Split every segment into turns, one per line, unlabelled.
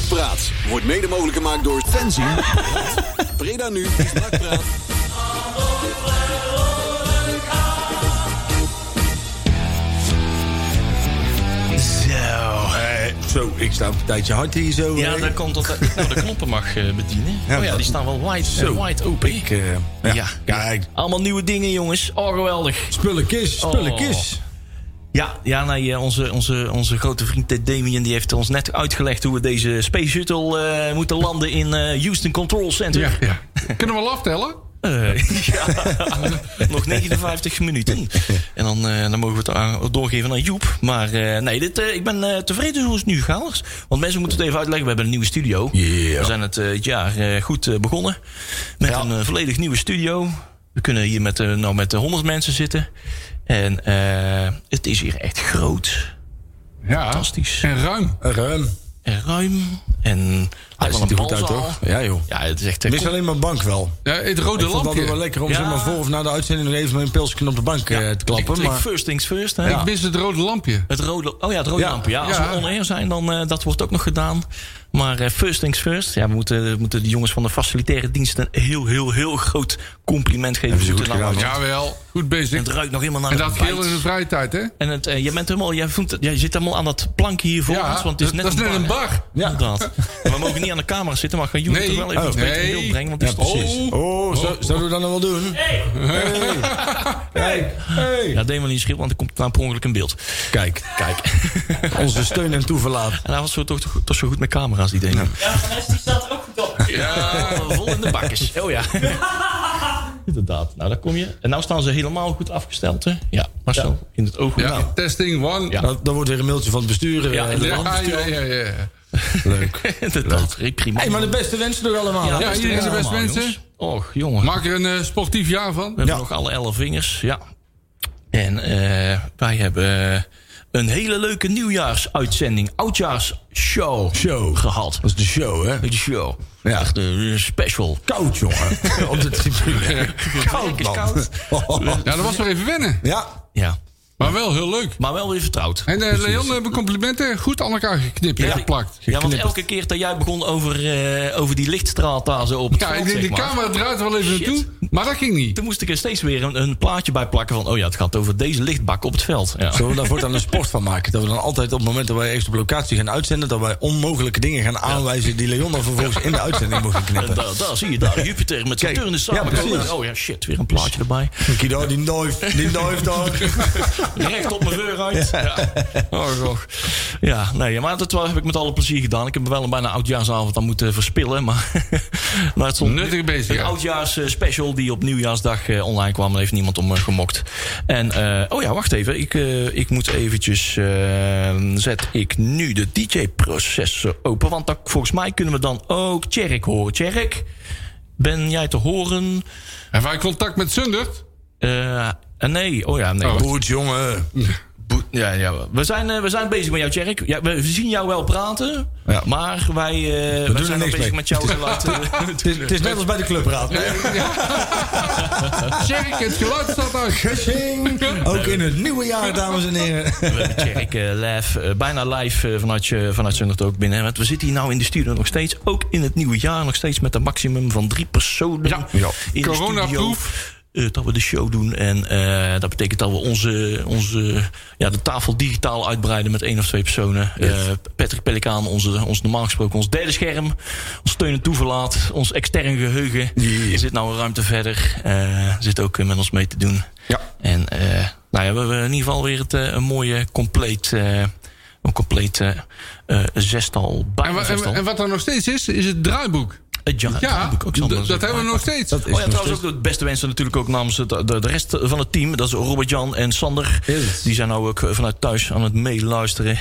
Nakpraat wordt mede mogelijk gemaakt door Fenzin. Breda nu is Nakpraat.
Zo.
Eh, zo, ik sta op een tijdje hard hier zo.
Ja,
eh.
dan komt dat ik nou de knoppen mag eh, bedienen.
Ja,
oh ja,
dat-
die staan wel wide,
Zo.
eh, wide open.
Ik, eh, ja.
Ja.
Kijk,
Allemaal nieuwe dingen, jongens. Oh, geweldig.
spullenkist,
Oh.
spullenkist.
Ja, ja nee, eh, onze, onze, onze grote vriend Ted Damien die heeft ons net uitgelegd hoe we deze Space Shuttle eh, moeten landen in eh, Houston Control Center.
Ja, ja. Kunnen we wel aftellen?
Eh, ja. Nog 59 minuten. En dan, eh, dan mogen we het aan- doorgeven aan Joep. Maar eh, nee, dit, eh, ik ben eh, tevreden hoe het nu gaat. Want mensen moeten het even uitleggen. We hebben een nieuwe studio.
Ja.
We zijn het eh, het jaar eh, goed eh, begonnen. Met een eh, volledig nieuwe studio. We kunnen hier met, eh, nou, met eh, 100 mensen zitten. En eh, het is hier echt groot
Ja.
Fantastisch.
En ruim.
Ruim.
en ruim. En
Hij ziet eh, er goed uit, toch? Ja, joh.
Ja, het is echt... eh,
Mis alleen maar bank wel.
Ja, het rode
Ik vond dat
lampje.
wel lekker om
Ja.
zeg maar, voor of na de uitzending nog even met een pilsje op de bank eh, te klappen.
ik- ik
maar
first things first. Hè?
Ik mis het rode lampje.
Het rode, oh ja, het rode
Ja,
lampje. Ja, als
ja.
we oneer zijn, dan eh, dat wordt ook nog gedaan. Maar eh, first things first. Ja, we moeten, we moeten de jongens van de facilitaire dienst een heel, heel, heel groot compliment geven.
ze
Ze
goed
doen nou
gedaan,
wat.
Jawel, goed
het
bezig.
ruikt nog helemaal naar
En
de
dat
bijt.
geheel in de vrije tijd, hè?
En het, eh, je, bent helemaal, jij, voelt, jij zit helemaal aan dat plankje hier voor ons. Want het is
dat
net
dat is net een
bar.
bar.
Ja. Inderdaad. We mogen niet aan de camera zitten, maar gaan jullie
Nee.
toch wel even
Oh,
iets beter
nee.
in beeld brengen. Want die
Ja,
is-
precies. Oh, zo, zouden we dat nou wel doen? Hey! Hey! Hey!
Ja, deed maar niet schil, want er komt nou per ongeluk in beeld.
Kijk, kijk. Onze steun en toeverlaat.
En daar was zo toch, toch zo goed met camera's, die dingen.
Ja, van Rest die staat er ook goed op.
Ja, vol in de bakjes. Oh ja. Inderdaad. Nou, daar kom je. En nou staan ze helemaal goed afgesteld, hè? Ja, Marcel, in het oog.
Ja,
Ja.
testing one.
Nou. Ja.
Dan, dan wordt weer een mailtje van het bestuur.
Ja,
eh,
inderdaad.
ja, ja, ja, ja.
Leuk.
Inderdaad. Prima.
Hey, maar de beste wensen toch allemaal? hè?
Ja, iedereen zijn best mensen.
Och, jongen.
Maak er een eh, sportief jaar van.
We hebben
Ja.
nog alle elf vingers, ja. En eh, wij hebben eh, een hele leuke nieuwjaarsuitzending. Oudjaarsshow.
Show.
Gehad.
Dat is de show, hè?
De show.
Ja.
Echt een special.
Koud, jongen. Op de tribune. Koud,
Is
man. Oh.
koud.
Ja, dat was wel even wennen.
Ja.
Ja.
Maar wel heel leuk.
Maar wel weer vertrouwd.
En eh, Leon, we hebben complimenten goed aan elkaar geknipt en geplakt.
Ja, want elke keer dat jij begon over, eh, over die lichtstraal daar zo op het
Ja,
veld,
ik denk,
zeg
de
maar,
camera draait er wel even
Shit.
naartoe. Maar dat ging niet.
Toen moest ik er steeds weer een, een plaatje bij plakken van... oh ja, het gaat over deze lichtbak op het veld. Ja.
Zullen we daar voortaan een sport van maken? Dat we dan altijd op het moment dat wij ergens op locatie gaan uitzenden... dat wij onmogelijke dingen gaan aanwijzen... die Leon dan vervolgens in de uitzending moet gaan
En
knippen.
daar, daar zie je daar, Jupiter met Saturnus
ja,
samen.
precies.
oh ja, shit, weer een plaatje erbij.
Kido, die neuf, die neuf daar.
Recht op mijn deur uit. Ja. Oh, goh. Ja, nee, maar dat wel- heb ik met alle plezier gedaan. Ik heb wel een bijna oudjaarsavond aan moeten verspillen. Maar, maar het stond
Nuttige
Een
bezigheid.
oudjaars eh, special die op nieuwjaarsdag eh, online kwam. Daar heeft niemand om eh, gemokt. En, eh, oh ja, wacht even. Ik, eh, ik moet eventjes... eh, zet ik nu de DJ-processor open. Want dan, volgens mij kunnen we dan ook Tjerk horen. Tjerk, ben jij te horen?
Hebben wij contact met Sundert?
Eh, eh, nee, oh ja, nee.
Oh.
Goed, jongen.
Boet- Ja, ja, we, zijn, eh, we zijn bezig met jou, Tjerk. Ja, we zien jou wel praten,
Ja.
maar wij, eh,
doen
wij
er
zijn wel
niks
bezig
mee.
met jou geluid. eh,
Het is, het is net als bij de clubraad. hè?
Zeg ik, het geluid staat uit.
Cushing. Ook in het nieuwe jaar, dames en heren.
we hebben Tjerk eh, live, eh, bijna live eh, vanuit, je vanuit Zundert ook binnen. Want we zitten hier nou in de studio nog steeds, ook in het nieuwe jaar, nog steeds met een maximum van drie personen.
Ja.
in de
Coronaproof.
studio, eh, dat we de show doen en eh, dat betekent dat we onze, onze, ja, de tafel digitaal uitbreiden met één of twee personen. Eh, Patrick Pelikaan, onze, ons normaal gesproken ons derde scherm, ons steun en toeverlaat, ons extern geheugen.
Yeah.
Zit nou een ruimte verder, eh, zit ook eh, met ons mee te doen.
Ja.
En eh, nou ja, we hebben in ieder geval weer het, eh, een mooie, compleet, eh, een compleet eh, eh, zestal.
En, wa-
Bijna
en, wa-
zestal.
en wat er nog steeds is, is het draaiboek.
Het jaar-
Ja,
draaiboek ook, zal
d-
ik maar
dat
zeggen.
hebben we nog steeds.
Dat is
Oh ja,
nog
trouwens ook de beste wensen natuurlijk ook namens het- de, de rest van het team. Dat is Robert-Jan en Sander.
Yes.
Die zijn nou ook eh, vanuit thuis aan het meeluisteren.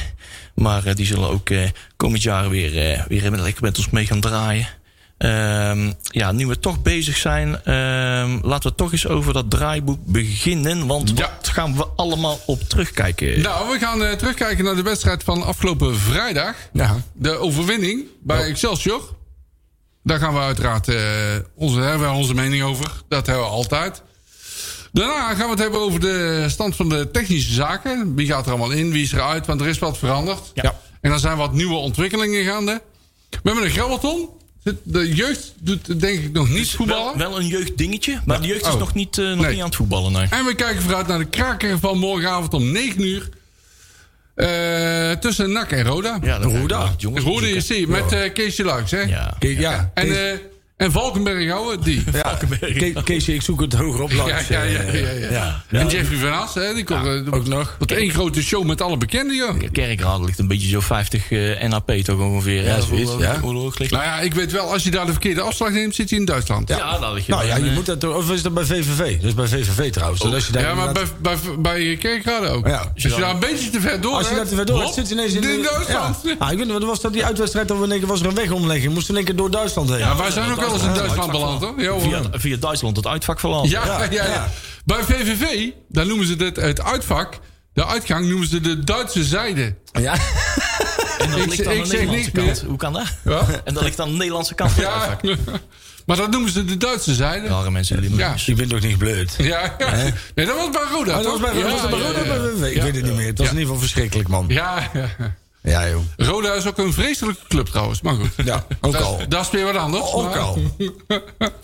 Maar eh, die zullen ook eh, komend jaar weer, eh weer even lekker met ons mee gaan draaien. Ehm, ja, nu we toch bezig zijn, ehm, laten we toch eens over dat draaiboek beginnen. Want
Ja.
wat gaan we allemaal op terugkijken?
Nou, we gaan eh, terugkijken naar de wedstrijd van afgelopen vrijdag.
Ja.
De overwinning bij Excelsior. Daar gaan we uiteraard eh, onze, hebben we onze mening over. Dat hebben we altijd. Daarna gaan we het hebben over de stand van de technische zaken. Wie gaat er allemaal in, wie is eruit, want er is wat veranderd.
Ja.
En er zijn wat nieuwe ontwikkelingen gaande. hebben een grabbelton. De jeugd doet denk ik nog niet voetballen.
Wel, wel een jeugddingetje, maar de jeugd is
Oh.
nog niet, eh, nog
Nee.
niet aan het voetballen. Nee.
En we kijken vooruit naar de kraker van morgenavond om 9 uur. Eh, tussen NAC en Roda.
Ja, dan ga ik
Roda.
wel, jongens,
Roda
zoeken.
is die, met eh Keesje Luiks, hè?
Ja.
Ke- ja.
En,
Kees-
eh, en Valkenberg houden, die. Ja,
Ke- Keesje, ik zoek het hoger op.
ja,
langs,
ja,
eh,
ja, ja,
Ja.
En Jeffrey van As, hè? Die komt eh,
Ook nog.
Wat één grote show met alle bekenden, joh.
Kerkraden ligt een beetje zo 50 eh, NAP toch ongeveer. hè?
zoiets,
Hoe-
ja.
Hoe hoe hoog ligt
Nou ja, ik weet wel, als je daar de verkeerde afslag neemt, zit je in Duitsland.
Ja, daar ligt je
Nou ja,
wel,
je
eh,
moet dat toch. Of is dat bij VVV? Dat is bij VVV trouwens. Dus als je daar
Oh. Ja, maar bij,
inderdaad-
bij, bij eh, Kerkrade ook.
Ja.
Als je daar een beetje te ver door
Als je dat
hebt,
te ver door
hop,
hebt, zit je ineens in,
dit
de-
Duitsland.
Ja.
Ja.
Ah, ik weet niet, wat was dat die uitwedstrijd? Dat we in één keer was er een wegomlegging. Moesten in één keer door Duitsland heen.
wij zijn ook wel eens in Duitsland beland, hoor. Ja, hoor.
via, via Duitsland het uitvak verlaten.
Ja, ja, ja,
ja.
Bij VVV, daar noemen ze dit het uitvak. De uitgang noemen ze de Duitse zijde.
Ja.
en dat
ik zeg-
ligt aan
ik
de
zeg
Nederlandse
niks
kant. Hoe kan dat?
Ja.
En dat ligt aan de Nederlandse kant. het
Ja.
uitvak.
maar dat noemen ze de Duitse zijde. Ja,
Rare mensen die
ja.
Je bent ook niet bleut.
ja. Nee, dat was bij Roda,
Maar Ah, dat was
toch?
bij,
ja,
was dat bij
ja,
Roda?
ja,
Bij VVV? Ik weet het niet meer. Het was in ieder geval verschrikkelijk, man.
Ja, ja.
Ja, joh.
Roda is ook een vreselijke club trouwens, maar goed.
Ja, ook
Dat-
al.
Dat is weer wat anders.
Ook
maar-
al.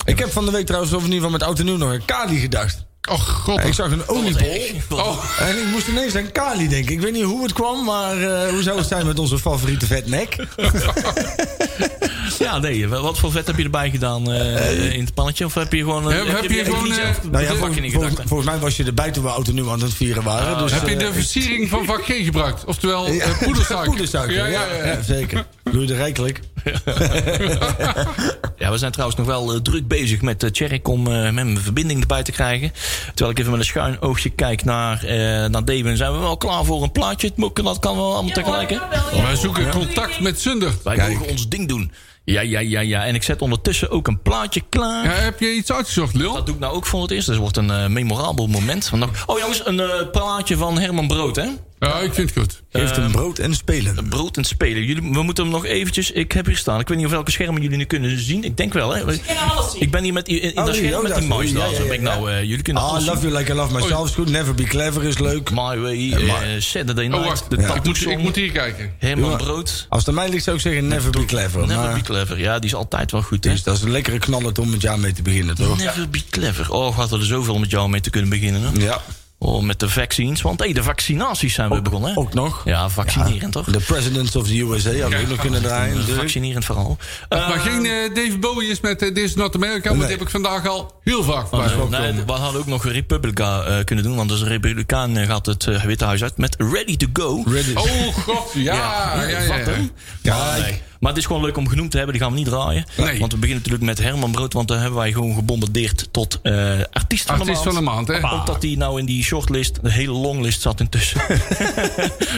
Ik heb van de week trouwens, of in ieder geval met oud en nieuw, nog aan Kali gedacht.
Och, Oh, god.
Ik zag een oliebol.
Oh,
En ik moest ineens aan Kali denken. Ik weet niet hoe het kwam, maar eh, hoe zou het zijn met onze favoriete vetnek? Nou
Ja, nee. wel- Wat voor vet heb je erbij gedaan eh, in het pannetje? Of heb je gewoon... eh,
Heb- heb je gewoon,
niet
eh,
zelf
Nou ja,
de
vol-
vakje in
vol-
gedachten?
volgens mij was je erbij toen we oud en nieuw aan het vieren waren. dus,
Ah, heb je
eh,
de versiering van vak G gebruikt? Oftewel,
Ja.
eh, poedersuiker.
Poedersuiker, ja, ja, zeker. Doe je er rijkelijk.
Ja, we zijn trouwens nog wel eh, druk bezig met eh Tjerk om eh, met mijn verbinding erbij te krijgen. Terwijl ik even met een schuin oogje kijk naar, eh naar Deven. Zijn we wel klaar voor een plaatje? Het moet- Dat kan wel allemaal tegelijk, hè?
Wij zoeken contact met Sundert.
Wij mogen ons ding doen. Ja, ja, ja, ja. En ik zet ondertussen ook een plaatje klaar.
Ja, heb je iets uitgezocht, Lil?
Dat doe ik nou ook voor het eerst. Dat wordt een eh, memorabel moment. Want dan- Oh jongens, een eh, plaatje van Herman Brood, hè?
Ja, ik vind het goed.
Geeft hem brood en spelen.
Brood en spelen. Jullie, we moeten hem nog eventjes... Ik heb hier staan. Ik weet niet of welke schermen jullie nu kunnen zien. Ik denk wel, hè?
Ik kan alles zien.
Ik ben hier met, die- in, in
Oh,
dat
die-
scherm
oh,
met
dat
die
is-
muis.
ja,
daar.
ja,
Zo ben
ja.
ik nou... eh, jullie kunnen
Ah,
alles
I love
zien.
you like I love myself is goed. Never be clever is leuk.
My Way, eh, Saturday Night,
Oh, wacht.
de
Ik, moet, ik moet hier kijken.
Herman Brood,
Als het aan mij ligt zou ik zeggen never be clever.
Never Be
Maar
Clever. Ja, die is altijd wel goed. hè?
dus dat is een lekkere knaller om het jaar mee te beginnen, toch?
Never Be Clever. Oh, we hadden er zoveel met jou mee te kunnen beginnen. Hè?
Ja.
Oh, met de vaccins. Want hey, de vaccinaties zijn we begonnen. Hè?
Ook nog.
Ja, vaccinerend toch?
The President of the USA had ik ook nog kunnen draaien. natuurlijk.
Dus Vaccinerend vooral. Eh,
maar geen eh, Dave Bowie is met eh, This is Not America. Maar
Nee.
dat heb ik vandaag al heel vaak voorbij
nee,
horen
nee,
komen.
we hadden ook nog een Republica eh, kunnen doen. Want dus een Republikaan eh, gaat het eh, Witte Huis uit met Ready to Go.
Ready.
Oh, god. Ja, Ah, ja, ja.
Wat dan? Maar, nee. Maar het is gewoon leuk om genoemd te hebben. Die gaan we niet draaien.
Nee.
Want we beginnen natuurlijk met Herman Brood. Want daar hebben wij gewoon gebombardeerd tot eh artiest van de maand.
Artiest van de maand, hè?
Ook dat hij nou in die shortlist, de hele longlist zat intussen.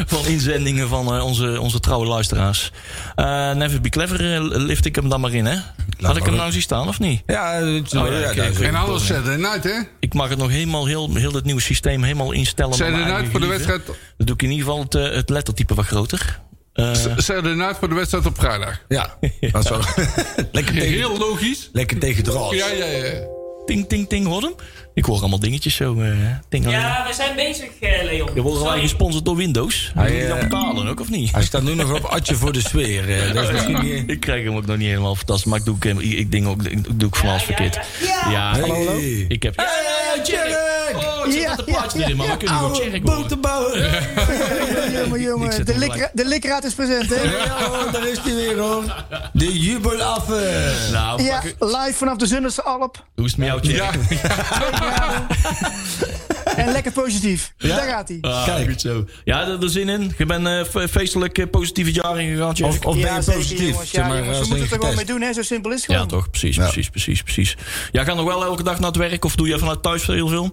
van inzendingen van eh, onze, onze trouwe luisteraars. Eh, Never Be Clever eh, lift ik hem dan maar in, hè? Had ik hem nou zien staan of niet?
Ja, het- ja,
ja, oké,
dat is-
oké.
En anders Saturday Night, hè?
Ik mag het nog helemaal, heel, heel dit nieuwe systeem helemaal instellen. naar
Saturday
mijn
Night
eigen
nou voor de
geliefde.
wedstrijd...
Dan doe ik in ieder geval het, eh, het lettertype wat groter. Eh,
Saturday Night voor de wedstrijd op vrijdag.
Ja, dat is wel- lekker, tegen,
Heel logisch.
lekker tegen de raad.
Ja, ja, ja.
ting, ting, ting, hoor hem. Ik hoor allemaal dingetjes zo. eh ting,
Ja, we zijn bezig, eh, Leon.
Dan worden wij
Sorry.
gesponsord door Windows. Moet je
eh,
dan betalen ook, of niet?
Hij staat nu nog op Atje voor de sfeer. eh, Dat is misschien niet...
Ik krijg hem ook nog niet helemaal fantastisch. Maar ik doe, ook, eh, ik, ik ding ook, ik doe ik van alles
Ja, ja,
verkeerd. Ja,
Hallo, hallo.
ik heb...
Hey, Jerk!
Oh, ik zit
Ja,
op de plaatje
ja,
erin, maar
ja,
we kunnen gewoon
Oude
checken. hoor.
boterbouwer.
Jongen,
Ik zet
jongen, de,
hem
likra-
gelijk.
de likraad is present, hè?
Ja, hoor, daar is hij weer hoor. De jubelaffe.
Nou,
Ja,
fuck it.
live vanaf de Zunderse Alp.
hoe is het met jou, Jerry?
Ja,
En lekker positief. Daar gaat hij.
Ah,
Kijk.
goed zo. Ja, er er zin in. Je bent eh, fe- feestelijk eh, positief het jaar ingegaan, Jerry.
Of, of ben je positief?
jongens.
zeg
Ja,
maar,
jongens,
als ben
we
je
moeten het er gewoon mee
getest.
doen, hè? Zo simpel is het
Ja,
gewoon.
toch? Precies, precies, precies, precies. Jij gaat nog wel elke dag naar het werk of doe je vanuit thuis heel veel?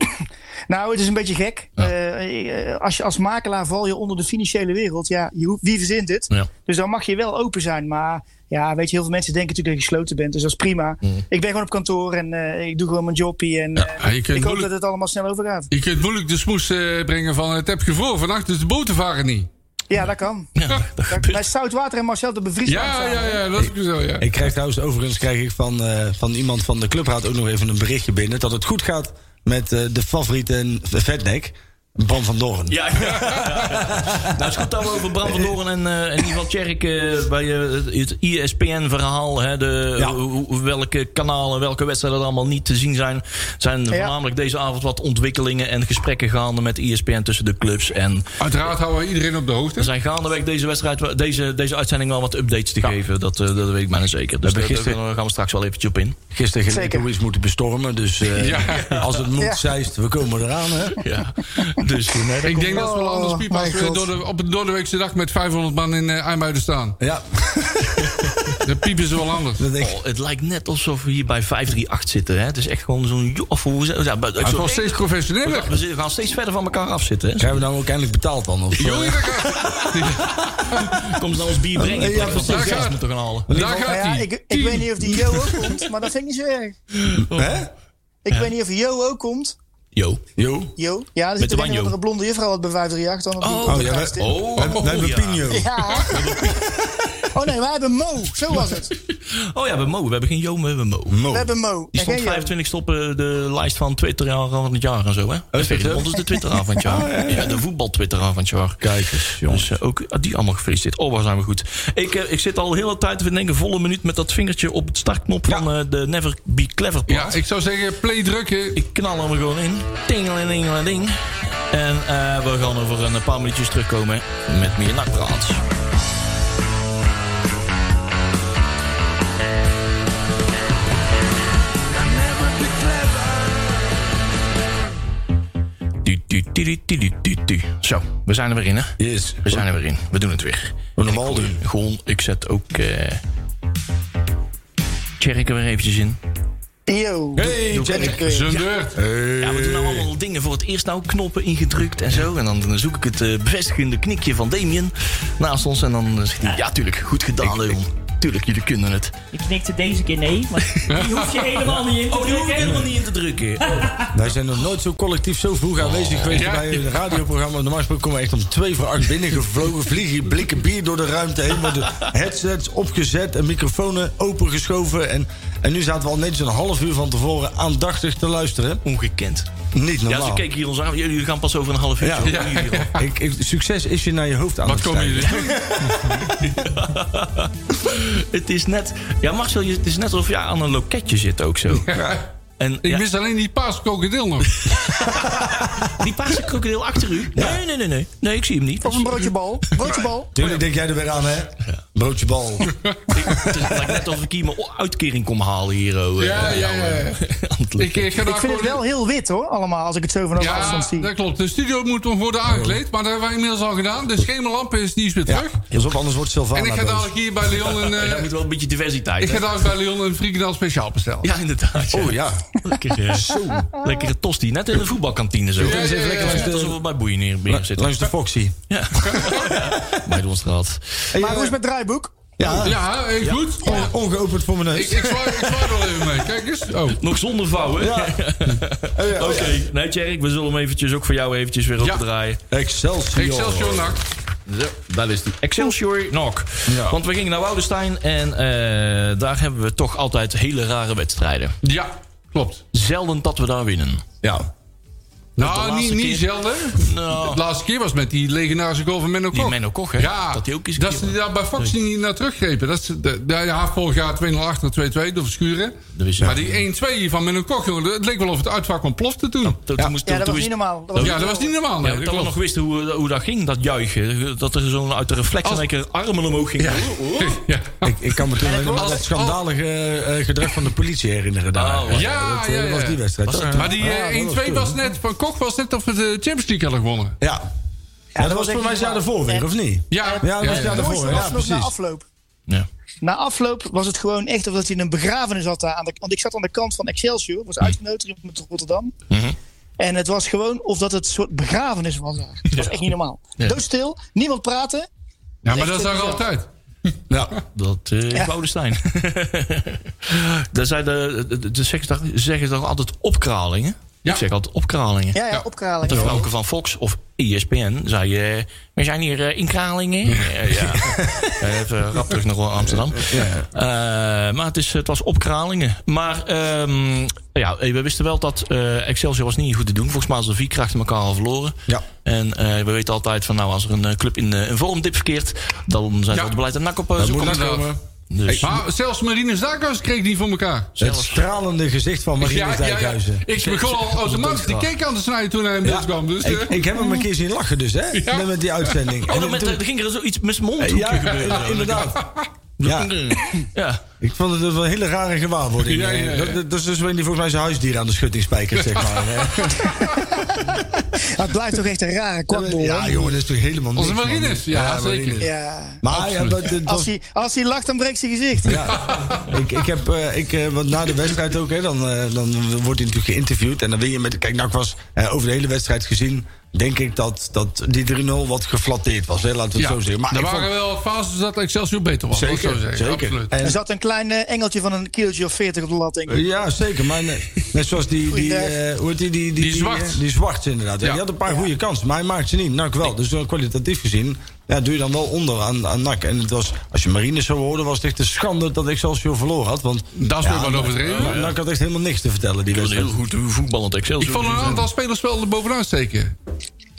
Nou, het is een beetje gek. Eh, eh, als je als makelaar val je onder de financiële wereld. Ja, je hoeft- wie verzint het?
Ja.
Dus dan mag je wel open zijn. Maar ja, weet je, heel veel mensen denken natuurlijk dat je gesloten bent. Dus dat is prima. Ik ben gewoon op kantoor en eh, ik doe gewoon mijn jobje. En eh,
Ja, je kunt
ik hoop
moeilijk-
dat het allemaal snel overgaat.
Je kunt moeilijk de smoes eh, brengen van het heb gevroren vannacht, dus de boten varen niet.
Ja, dat kan.
Ja, dat
Dat- Bij Zoutwater en Marcel de Bevries.
Ja, ja, ja, dat is ook zo, ja.
Ik krijg trouwens overigens krijg ik van, eh, van iemand van de clubraad ook nog even een berichtje binnen. Dat het goed gaat met eh, de favoriete en v- vetnek. Bram van Doorn.
Ja, ja, Nou, het gaat dan over Bram van Doorn en, eh, en in ieder geval Tjerk eh, bij eh, het ISPN-verhaal. hè, de-
Ja.
hoe- hoe- Welke kanalen, welke wedstrijden er allemaal niet te zien zijn. Zijn voornamelijk deze avond wat ontwikkelingen en gesprekken gaande met ISPN tussen de clubs. En
Uiteraard houden we iedereen op de hoogte.
er zijn gaandeweg deze, wedstrijd, wel- deze, deze uitzending wel wat updates te geven. Dat, eh, dat weet ik bijna zeker. Dus
We hebben
daar
gisteren-
daar gaan we straks wel eventjes op in.
Gisteren ging
Zeker.
ik iets moeten bestormen. Dus eh,
Ja.
als het moet,
Ja.
zeist, we komen eraan. Hè?
Ja. dus, eh, nee, dat
Ik
komt-
denk dat we wel
Oh,
anders piep als
mijn
we
God.
door de, op een doordeweekse dag met 500 man in eh IJmuiden staan.
Ja,
Dan piepen ze wel anders.
dat denk ik.
Oh, het lijkt net alsof we hier bij 538 zitten. Hè? Het is echt gewoon zo'n... jo- Of hoe, ja, maar-
Het
zo'n-
was steeds
We
professioneler.
gaan- We gaan steeds verder van elkaar afzitten. Hè?
Krijgen we nou ook eindelijk betaald dan? Of,
Joey, daar gaat-
Kom ze nou ons bier brengen.
Ja,
Ja, precies.
precies.
Ja, moeten gaan halen.
daar
Nou
gaat
ja,
hij.
ik, ik weet niet of die Jo ook komt, maar dat vind ik niet zo erg.
Hè?
Ik weet niet of Jo ook komt.
Yo.
Jo.
Jo? Ja, er zit
de
een
banjo.
andere blonde juffrouw wat bij 538 dan op die
Oh,
podcast
ja,
zit.
wij-
Oh,
Wij wij hebben
ja.
Pino.
Ja. Oh nee, wij hebben Mo. Zo was het. We
Oh ja, we hebben Mo. We hebben geen Yo, maar we hebben Mo.
Mo.
hebben Mo.
Die
En
stond
geen Jo.
25 op eh, de lijst van Twitter van het jaar en zo, hè? Dat
echt,
Oh, is
hè?
ons de Twitter van het jaar. ja, de voetbal Twitter van het jaar.
Kijk eens, jongens.
Dus eh, ook eh, die allemaal gefeliciteerd. Oh, waar zijn we goed. Ik, eh, ik zit al de hele tijd, we denken, volle minuut met dat vingertje op het startknop van eh, de Never Be Clever plaat.
Ja, ik zou zeggen, play drukken.
Ik knal hem er gewoon in. Tingelingelingeling. En eh, we gaan over een paar minuutjes terugkomen met meer nakpraat. Du, du, du, du, du, du, du, du. Zo, we zijn er weer in, hè?
Yes.
We zijn er weer in. We doen het weer.
We normaal
Ik gooi-
doen.
Gewoon, ik zet ook... eh Tjerk er weer eventjes in.
Jo.
Hey, Jack.
Zijn beurt.
Ja, we doen nou allemaal dingen voor het eerst nou, knoppen ingedrukt en zo. En dan eh, zoek ik het eh, bevestigende knikje van Damien naast ons. En dan eh, zegt hij, ja tuurlijk, goed gedaan Leon. Tuurlijk, jullie kunnen het.
Ik knikte deze keer nee, maar die hoef je helemaal niet in te
Oh, die hoef ik
drukken.
helemaal niet in te drukken.
Wij zijn nog nooit zo collectief zo vroeg aanwezig geweest
Ja.
bij een radioprogramma. Normaal gesproken komen we echt om twee voor acht binnengevlogen. Vliegen blikken bier door de ruimte heen. Worden headsets opgezet en microfoons opengeschoven. En, en nu zaten we al netjes een half uur van tevoren aandachtig te luisteren.
Ongekend.
Niet
Ja,
normaal.
ze keken hier ons aan. Jullie gaan pas over een half uur.
Ja. Ik, ik- succes is je naar je hoofd aan
Wat
het
komen
stijgen.
jullie doen?
Het is net... Ja, Marcel, je- het is net alsof je aan een loketje zit ook zo. En
Ik
ja,
mis alleen die paas krokodil nog. eh,
die paarse krokodil achter u. Nee, nee, nee, nee. Nee, ik zie hem niet.
Of een broodjebal. Broodjebal.
Tuurlijk denk jij er weer aan, hè? Broodje bal.
Ik- Het is- het lijkt net alsof ik hier mijn uitkering kom halen hier. oh, eh,
Ja, ja, ja, ja.
aan het
Ik,
loketje.
ik, ga daar
Ik vind het
gewoon-
wel heel wit hoor, allemaal, als ik het zo vanaf
Ja,
afstand zie.
dat klopt. De studio moet nog worden aangekleed, maar dat hebben wij inmiddels al gedaan. De schemerlamp is, die is weer
Ja, Oh,
terug.
pas op, anders wordt Sylvana
En ik ga
boos.
dadelijk hier bij Leon een,
Ja,
eh,
dat moet wel een beetje diversiteit.
ik
hè?
ga dadelijk bij Leon een frikandel speciaal bestellen.
Ja, inderdaad. ja.
Oh ja.
Lekker, eh, Lekkere tosti. Net in de voetbalkantine zo.
ja, ja, ja.
Het is net alsof we bij Boeien neer binnen zitten.
Langs de Foxy.
Ja. bij de Onstraat.
Maar hoe is het met draaiboek?
Ja,
Ja, eh, goed.
on- ongeopend voor mijn
Ik,
neus.
ik zwaai ik zwaai er al even mee. Kijk eens. Oh.
Nog zonder vouwen.
Ja. Oh, ja.
Oké. Nee, Tjerk, we zullen hem eventjes ook voor jou eventjes weer opdraaien.
Excelsior.
Excelsior NAC.
Zo, dat is die. Excelsior Nok.
Ja.
Want we gingen naar Woudenstein en eh, daar hebben we toch altijd hele rare wedstrijden.
Ja, klopt.
Zelden dat we daar winnen.
Ja.
Nou, niet,
laatste
niet
keer-
zelden.
Nou.
De laatste keer was met die legendarische goal van Menno Kok.
Die Menno Koch, hè?
Ja,
Dat hij ook eens een
dat
keer
ze daar bij Fox niet naar teruggrepen. Dat ze, de, de Haafpol gaat 2-0 achter 2-2 door Verschuren.
Dat is-
Maar die 1-2 van Menno Koch, jongen, het leek wel of het uitvak ontplofte toen.
Toen, toen moest-
Ja, dat
toen
was
is-
niet normaal. Dat
Ja,
was
Ja, dat was niet normaal.
Ja,
Nee,
dat
dat
we nog
klopt.
wisten hoe, hoe dat ging, dat juichen. Dat er zo'n uit de reflex in
Als-
een keer armen omhoog ging.
Ja, oh.
Ik, ik kan me toen alleen maar
klopt.
dat schandalige eh, gedrag van de politie herinneren daar.
Oh, ja,
dat, eh,
ja,
dat
ja.
was die wedstrijd.
Was
toch?
het-
Maar die
Ja, dat was
eh, 1-2
toen.
was net, van Koch was net of we de Champions League hadden gewonnen.
Ja. Ja, dat, was
was
voor
echt
mij
niet
het jaar
normaal.
daarvoor weer,
En-
of niet?
Ja,
Ja, dat was het jaar
het mooiste
daarvoor. Ja,
afloop na
precies.
afloop.
Ja.
Na afloop was het gewoon echt alsof hij in een begrafenis zat. Daar aan de, want ik zat aan de kant van Excelsior, was uitgenodigd met Rotterdam.
Mhm.
En het was gewoon of dat het een soort begrafenis was daar. Het was echt niet normaal. Doodstil, niemand praten.
Ja, maar dat is
Echt
daar
bizar.
altijd.
Ja.
Dat eh is Woudenstein. Daar zijn de, de, de, zeggen ze toch- zeggen ze toch altijd opkralingen?
Ja.
Ik zeg altijd opkralingen.
Ja,
Ja.
ja, opkralen.
De vrouwke van Fox of E ESPN zei... eh, we zijn hier eh, in Kralingen. Eh, ja. Eh, Even rap terug naar Amsterdam. Eh, maar het, is, het was op Kralingen. Maar ehm, ja, eh, we wisten wel dat eh, Excelsior was niet goed te doen. Volgens mij hadden ze vier krachten elkaar al verloren.
Ja.
En eh, we weten altijd van... nou, als er een eh, club in eh, een vormdip verkeert... dan zijn ze
Ja.
altijd blij dat NAC op eh,
Dat
zoek
moet
komt.
dat wel.
komen.
Dus,
Maar zelfs Marine Zaakhuis kreeg die voor elkaar.
Het stralende gezicht van Marine Dijkhuizen.
Ik begon al automatisch die cake aan te snijden toen hij in beeld kwam. Dus,
ik,
eh,
ik heb hem een keer zien lachen dus, hè?
Ja.
Met- Met die uitzending.
Oh,
En
dan
toen-
met, er ging er zoiets met zijn mond.
ja, inderdaad. Ja,
Ja.
ik vond het wel een hele rare gewaarwording.
Ja, ja, ja.
Dat, dat- dat is dus wanneer die volgens mij zijn huisdier aan de schutting spijkert, zeg maar. hè.
Maar het blijft toch echt een rare kwakbol.
Ja,
hoor.
jongen, dat is toch helemaal niks,
Onze
man.
Marines, ja, zeker.
ja.
Maar ja, dat, dat was-
Als hij, als hij lacht, dan breekt zijn gezicht.
ik, ik heb, eh, ik, eh, want na de wedstrijd ook, hè, dan, eh, dan wordt hij natuurlijk geïnterviewd. En dan wil je met, kijk, nou, ik was eh, over de hele wedstrijd gezien, denk ik dat, dat die 3-0 wat geflatteerd was, hè, laten we het
ja.
zo zeggen.
er
ik
waren
vond-
wel fases dat Excelsior beter was. laat ik zo
zeker,
zeggen.
zeker.
Absoluut.
Er
En,
zat een klein eh, engeltje van een kilootje of 40 op de lat, denk ik.
ja, zeker. Maar net, net zoals die, die,
Goeiedag.
eh, hoe heet die, die,
Die Zwart.
eh, Die zwart, inderdaad. hè.
Ja.
Die had een paar goede kansen, maar hij maakt ze niet. NAC wel. Dus eh, kwalitatief gezien ja, doe je dan wel onder aan, aan NAC. En het was, als je Marines zou horen, was het echt een schande dat Excelsior verloren had. Want
Dat is weer wat overdreven.
Maar NAC had echt helemaal niks te vertellen, die
Dat was
wedstrijd.
heel goed voetballend
Ik
Excelsior. Dus, eh,
vond een aantal spelers wel er bovenuit steken.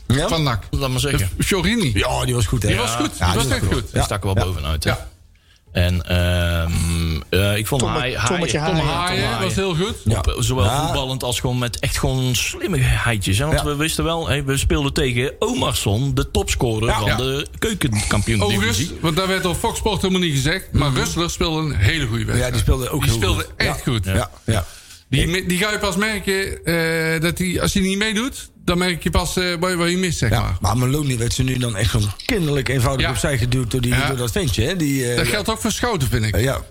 Ja?
Van NAC.
Laat maar zeggen.
Chorini.
Ja, die was goed, hè?
Die was goed.
Ja,
die was
die
echt
was
goed.
Die stak er wel bovenuit. hè.
Ja.
En ehm, eh, ik vond
Tomme-
Haaien-
Tommetje
Haaien-
Haaien.
Tom Haaien
Haaien was heel goed.
Ja.
Op, eh, zowel
Ja.
voetballend als gewoon met echt gewoon slimmigheidjes. Hè? Want
Ja.
we wisten wel, hè, we speelden tegen Omarsson, de topscorer van
Ja.
de keukenkampioen-divisie.
Overigens, want daar werd op Fox Sport helemaal niet gezegd. Maar Rustler speelde een hele goede wedstrijd.
Mhm. Ja, die speelde ook
Die
heel
speelde
goed.
echt goed.
Ja, ja.
Die, me- die ga je pas merken eh, dat die, als hij niet meedoet, dan merk je pas eh, wat je- wat je mist, zeg
ja.
maar.
Maar Maloney werd ze nu dan echt gewoon kinderlijk eenvoudig
Ja.
opzij geduwd door, die,
Ja.
door dat ventje, hè? Die, eh,
Dat geldt ook voor Schouten, vind ik.
ja.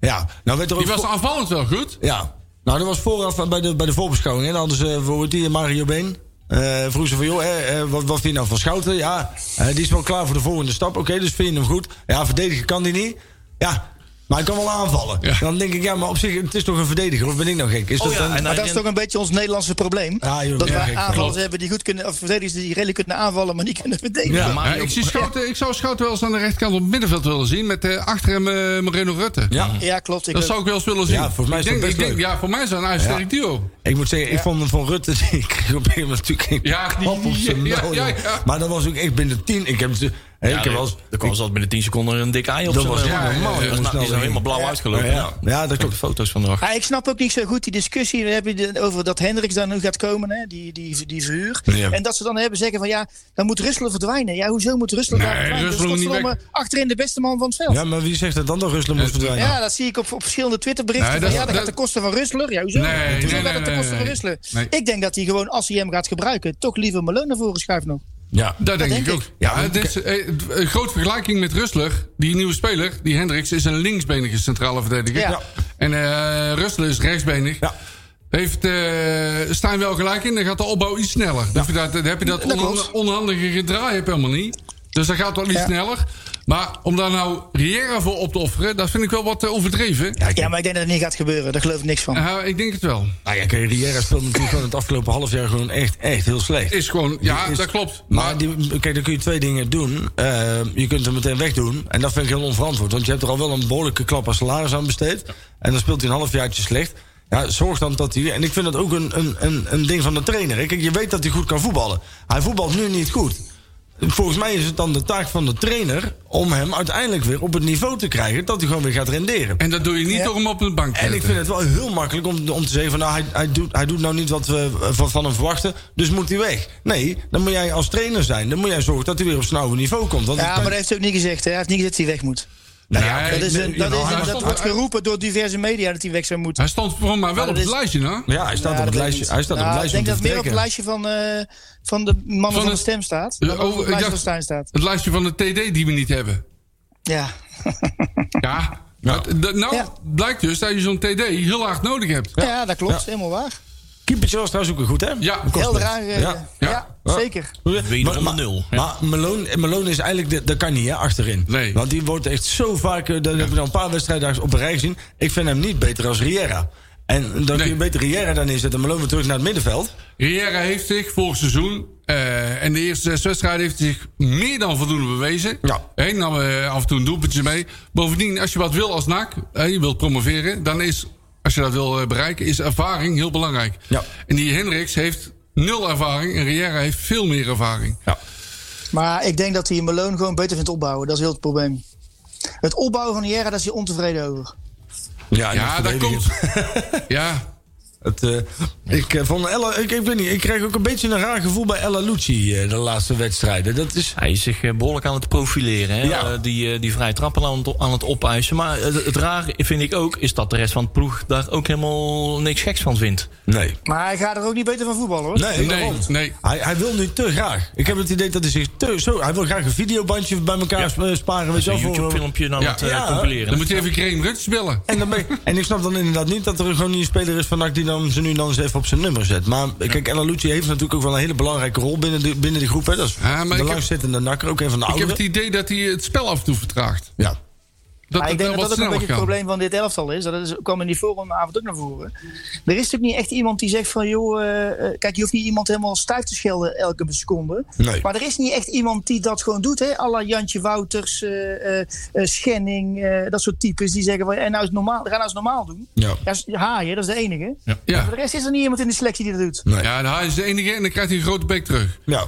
ja, nou werd er ook...
Die was
voor-
aanvallend wel goed.
Ja. Nou, dat was vooraf bij de, bij de voorbeschouwing. Hè. Dan hadden ze voor die Mario Been. eh vroeg ze van, joh, eh, eh, wat, wat vind je nou van Schouten? Ja, eh, die is wel klaar voor de volgende stap. Oké, dus vind je hem goed? Ja, verdedigen kan die niet. Ja, maar hij kan wel aanvallen.
Ja.
Dan denk ik, ja, maar op zich, het is toch een verdediger? Of ben ik nou gek? Is dat
Oh ja,
dan...
en
Maar dat is toch een beetje ons Nederlandse probleem.
Ja, joh,
dat
ja,
wij
ik-
aanvallers
klopt.
hebben die goed kunnen, of verdedigers die redelijk kunnen aanvallen, maar niet kunnen verdedigen.
Ja.
Ja,
Maar
ik, zie Schouten, ik zou Schouten wel eens aan de rechterkant op het middenveld willen zien. Met eh, achter hem eh, Moreno Rutte.
ja.
Ja, klopt. Ik
Dat
ook.
zou ik wel eens willen zien.
Ja, volgens mij is
ik
dat
denk,
best
ik denk-
leuk.
Ja, voor mij is dat een ijzersterk duo.
Ik moet zeggen, ik vond hem van Rutte. Ik kreeg op een gegeven moment natuurlijk een
Ja, die-
klap op zijn
ja,
mouw,
ja,
joh.
ja.
Maar dat was ook echt binnen tien. Ik heb, ze- hè, ik
Ja,
heb
nee,
wel eens-
er kwam
ik-
zelfs binnen 10 seconden een dikke ei op
Dat
zijn,
was
eh,
ja, ja,
man.
ja,
Dat is
ja,
nou-
ja,
die is
ja.
nou helemaal blauw
Ja.
uitgelopen.
Ja, ja, dat
Ook
klopt.
de foto's van de
Ah, ik snap ook niet zo goed die discussie. Dan heb je het over dat Hendricks daar nu gaat komen, hè, die, die, die verhuur.
Ja.
En dat ze dan hebben zeggen van ja, dan moet Russelen verdwijnen. Ja, hoezo moet Russelen
Nee,
daar verdwijnen? Dus
Russelen moet niet
godverdomme, achterin de beste man van het veld.
Ja, maar wie zegt dat dan dat Rusland moet verdwijnen?
Ja, dat zie ik op, op verschillende Twitterberichten.
Nee,
van,
dat-
ja, dat,
dat-
gaat de kosten van Rustler. Ja, hoezo?
Nee, nee,
hoezo
nee,
gaat het de
nee,
kosten van
nee.
Rustler?
Nee.
Ik denk dat hij gewoon, als hij hem gaat gebruiken, toch liever Malone naar voren schuift nog.
Ja.
Dat, denk,
denk
ik ook.
ik.
Ja, het is, eh, een grote vergelijking met Rustler. Die nieuwe speler, die Hendricks, is een linksbenige centrale verdediger.
Ja.
En eh Rustler is rechtsbenig.
Ja.
Heeft eh Stijn wel gelijk in, dan gaat de opbouw iets sneller. Dan, hoef je dat, dan heb je dat,
Dat
onhan-
klopt.
onhandige gedraai heb je helemaal niet. Dus dat gaat wel iets
Ja.
sneller. Maar om daar nou Riera voor op te offeren, dat vind ik wel wat eh, overdreven.
Ja, maar ik denk dat het niet gaat gebeuren. Daar geloof ik niks van.
Eh, ik denk het wel.
Nou ja, kijk, Riera speelde natuurlijk gewoon het afgelopen half jaar gewoon echt, echt heel slecht.
Is gewoon, ja,
Is-
dat klopt.
Maar die, kijk, dan kun je twee dingen doen. Eh, je kunt hem meteen wegdoen. En dat vind ik heel onverantwoord. Want je hebt er al wel een behoorlijke klap aan salaris aan besteed. En dan speelt hij een halfjaartje slecht. Ja, zorg dan dat hij... En ik vind dat ook een, een, een, een ding van de trainer. hè. Kijk, je weet dat hij goed kan voetballen. Hij voetbalt nu niet goed. Volgens mij is het dan de taak van de trainer... om hem uiteindelijk weer op het niveau te krijgen... dat hij gewoon weer gaat renderen.
En dat doe je niet door hem op de bank te
En ik
zetten.
vind het wel heel makkelijk om, om te zeggen van nou, hij, hij, doet, hij doet nou niet wat we van, van hem verwachten, dus moet hij weg. Nee, dan moet jij als trainer zijn. Dan moet jij zorgen dat hij weer op zijn oude niveau komt. Want
Ja,
het-
maar dat heeft hij ook niet gezegd. Hè. Hij heeft niet gezegd dat hij weg moet.
Nee,
Dat, is een, dat,
hij
is een-
stond-
dat wordt geroepen door diverse media dat hij weg zou moeten.
Hij stond voor mij wel
Maar
op
dat
het
is-
lijstje, hè?
ja, hij staat
Ja,
op het
dat
lijstje.
weet
Hij staat
ik niet.
op
Nou,
het lijstje.
Ik denk dat
om
het
te
meer op het
vertrekken.
lijstje van, eh, van de mannen van,
het-
de stem staat.
Ja,
Dan
oh,
op het
ik
lijstje
dacht-
van Stijn staat.
Het lijstje van de TD die we niet hebben.
Ja.
Ja. Maar d- nou,
Ja.
blijkt dus dat je zo'n TD heel hard nodig hebt.
Ja. dat klopt. Helemaal waar.
Keepertje was trouwens ook weer goed, hè?
Ja.
Kost
Helder
het.
aangegeven. Ja,
Ja.
zeker.
Wederom
Maar-
een
maar-
nul, ja.
Maar Malone, Malone is eigenlijk, de, dat kan niet, hè, achterin.
Nee.
Want die wordt echt zo vaak, eh, dat heb ik al een paar wedstrijden op een rij gezien. Ik vind hem niet beter als Riera. En dan kun
Nee.
je beter Riera dan inzetten. Malone weer terug naar het middenveld.
Riera heeft zich vorig seizoen eh, en de eerste zes wedstrijden heeft hij zich meer dan voldoende bewezen.
Ja.
Hij nam eh, af en toe een doelpuntje mee. Bovendien, als je wat wil als NAC, eh, je wilt promoveren, dan is, als je dat wil eh, bereiken, is ervaring heel belangrijk.
Ja.
En die Hendricks heeft nul ervaring en Riera heeft veel meer ervaring.
Maar ik denk dat hij Malone gewoon beter vindt opbouwen. Dat is heel het probleem. Het opbouwen van Jera, daar is hij ontevreden over.
Ja,
Ja, dat komt. ja.
Het, eh, ik, eh, vond Ella, ik, ik weet niet, ik krijg ook een beetje een raar gevoel bij Ella Lucci eh, de laatste wedstrijden. Dat is...
Hij is zich eh, behoorlijk aan het profileren. Hè?
Ja.
Eh, die, eh, die vrije trappen aan het, aan het opeisen. Maar eh, het, het rare vind ik ook... is dat de rest van het ploeg daar ook helemaal niks geks van vindt.
Nee.
Maar hij gaat er ook niet beter van voetballen hoor.
Nee,
Nee,
daarom.
nee.
Hij, hij wil nu te graag. Ik heb het idee dat hij zich te... Zo, hij wil graag een videobandje bij elkaar sp- eh, sparen. Weet je
Een
wel, voor-
YouTube-filmpje aan
Ja.
het eh,
Ja,
compileren.
Dan moet je even Graham Rutsch
Oh,
bellen.
En, dan ben ik, en ik snap dan inderdaad niet dat er gewoon niet een speler is van NAC die dan ze nu dan eens even op zijn nummer zet. Maar kijk, El Lucci heeft natuurlijk ook wel een hele belangrijke rol binnen de, binnen de groep. Hè. Dat is
Ja, maar ik
de
heb-
langzittende nakker, ook een van de
Ik heb
ouderen.
het idee dat hij het spel af en toe vertraagt.
Ja.
Dat
Maar ik
het
denk
wel
dat dat
wat
ook een
sneller
beetje het
kan.
probleem van dit elftal is. Dat is, kwam in die forumavond ook naar voren. Er is natuurlijk niet echt iemand die zegt van... joh, eh, eh, kijk, je hoeft niet iemand helemaal stijf te schelden elke seconde.
Nee.
Maar er is niet echt iemand die dat gewoon doet. Hè? Alla Jantje Wouters, eh, eh, eh, Schenning, eh, dat soort types. Die zeggen van, en nou is het normaal, ga nou eens normaal doen.
Ja.
Dat is haaien, dat is de enige.
Ja.
Voor de rest is er niet iemand in de selectie die dat doet.
Nee. Ja.
Ja, nou, hij is de enige en dan krijgt hij een grote bek terug.
Ja.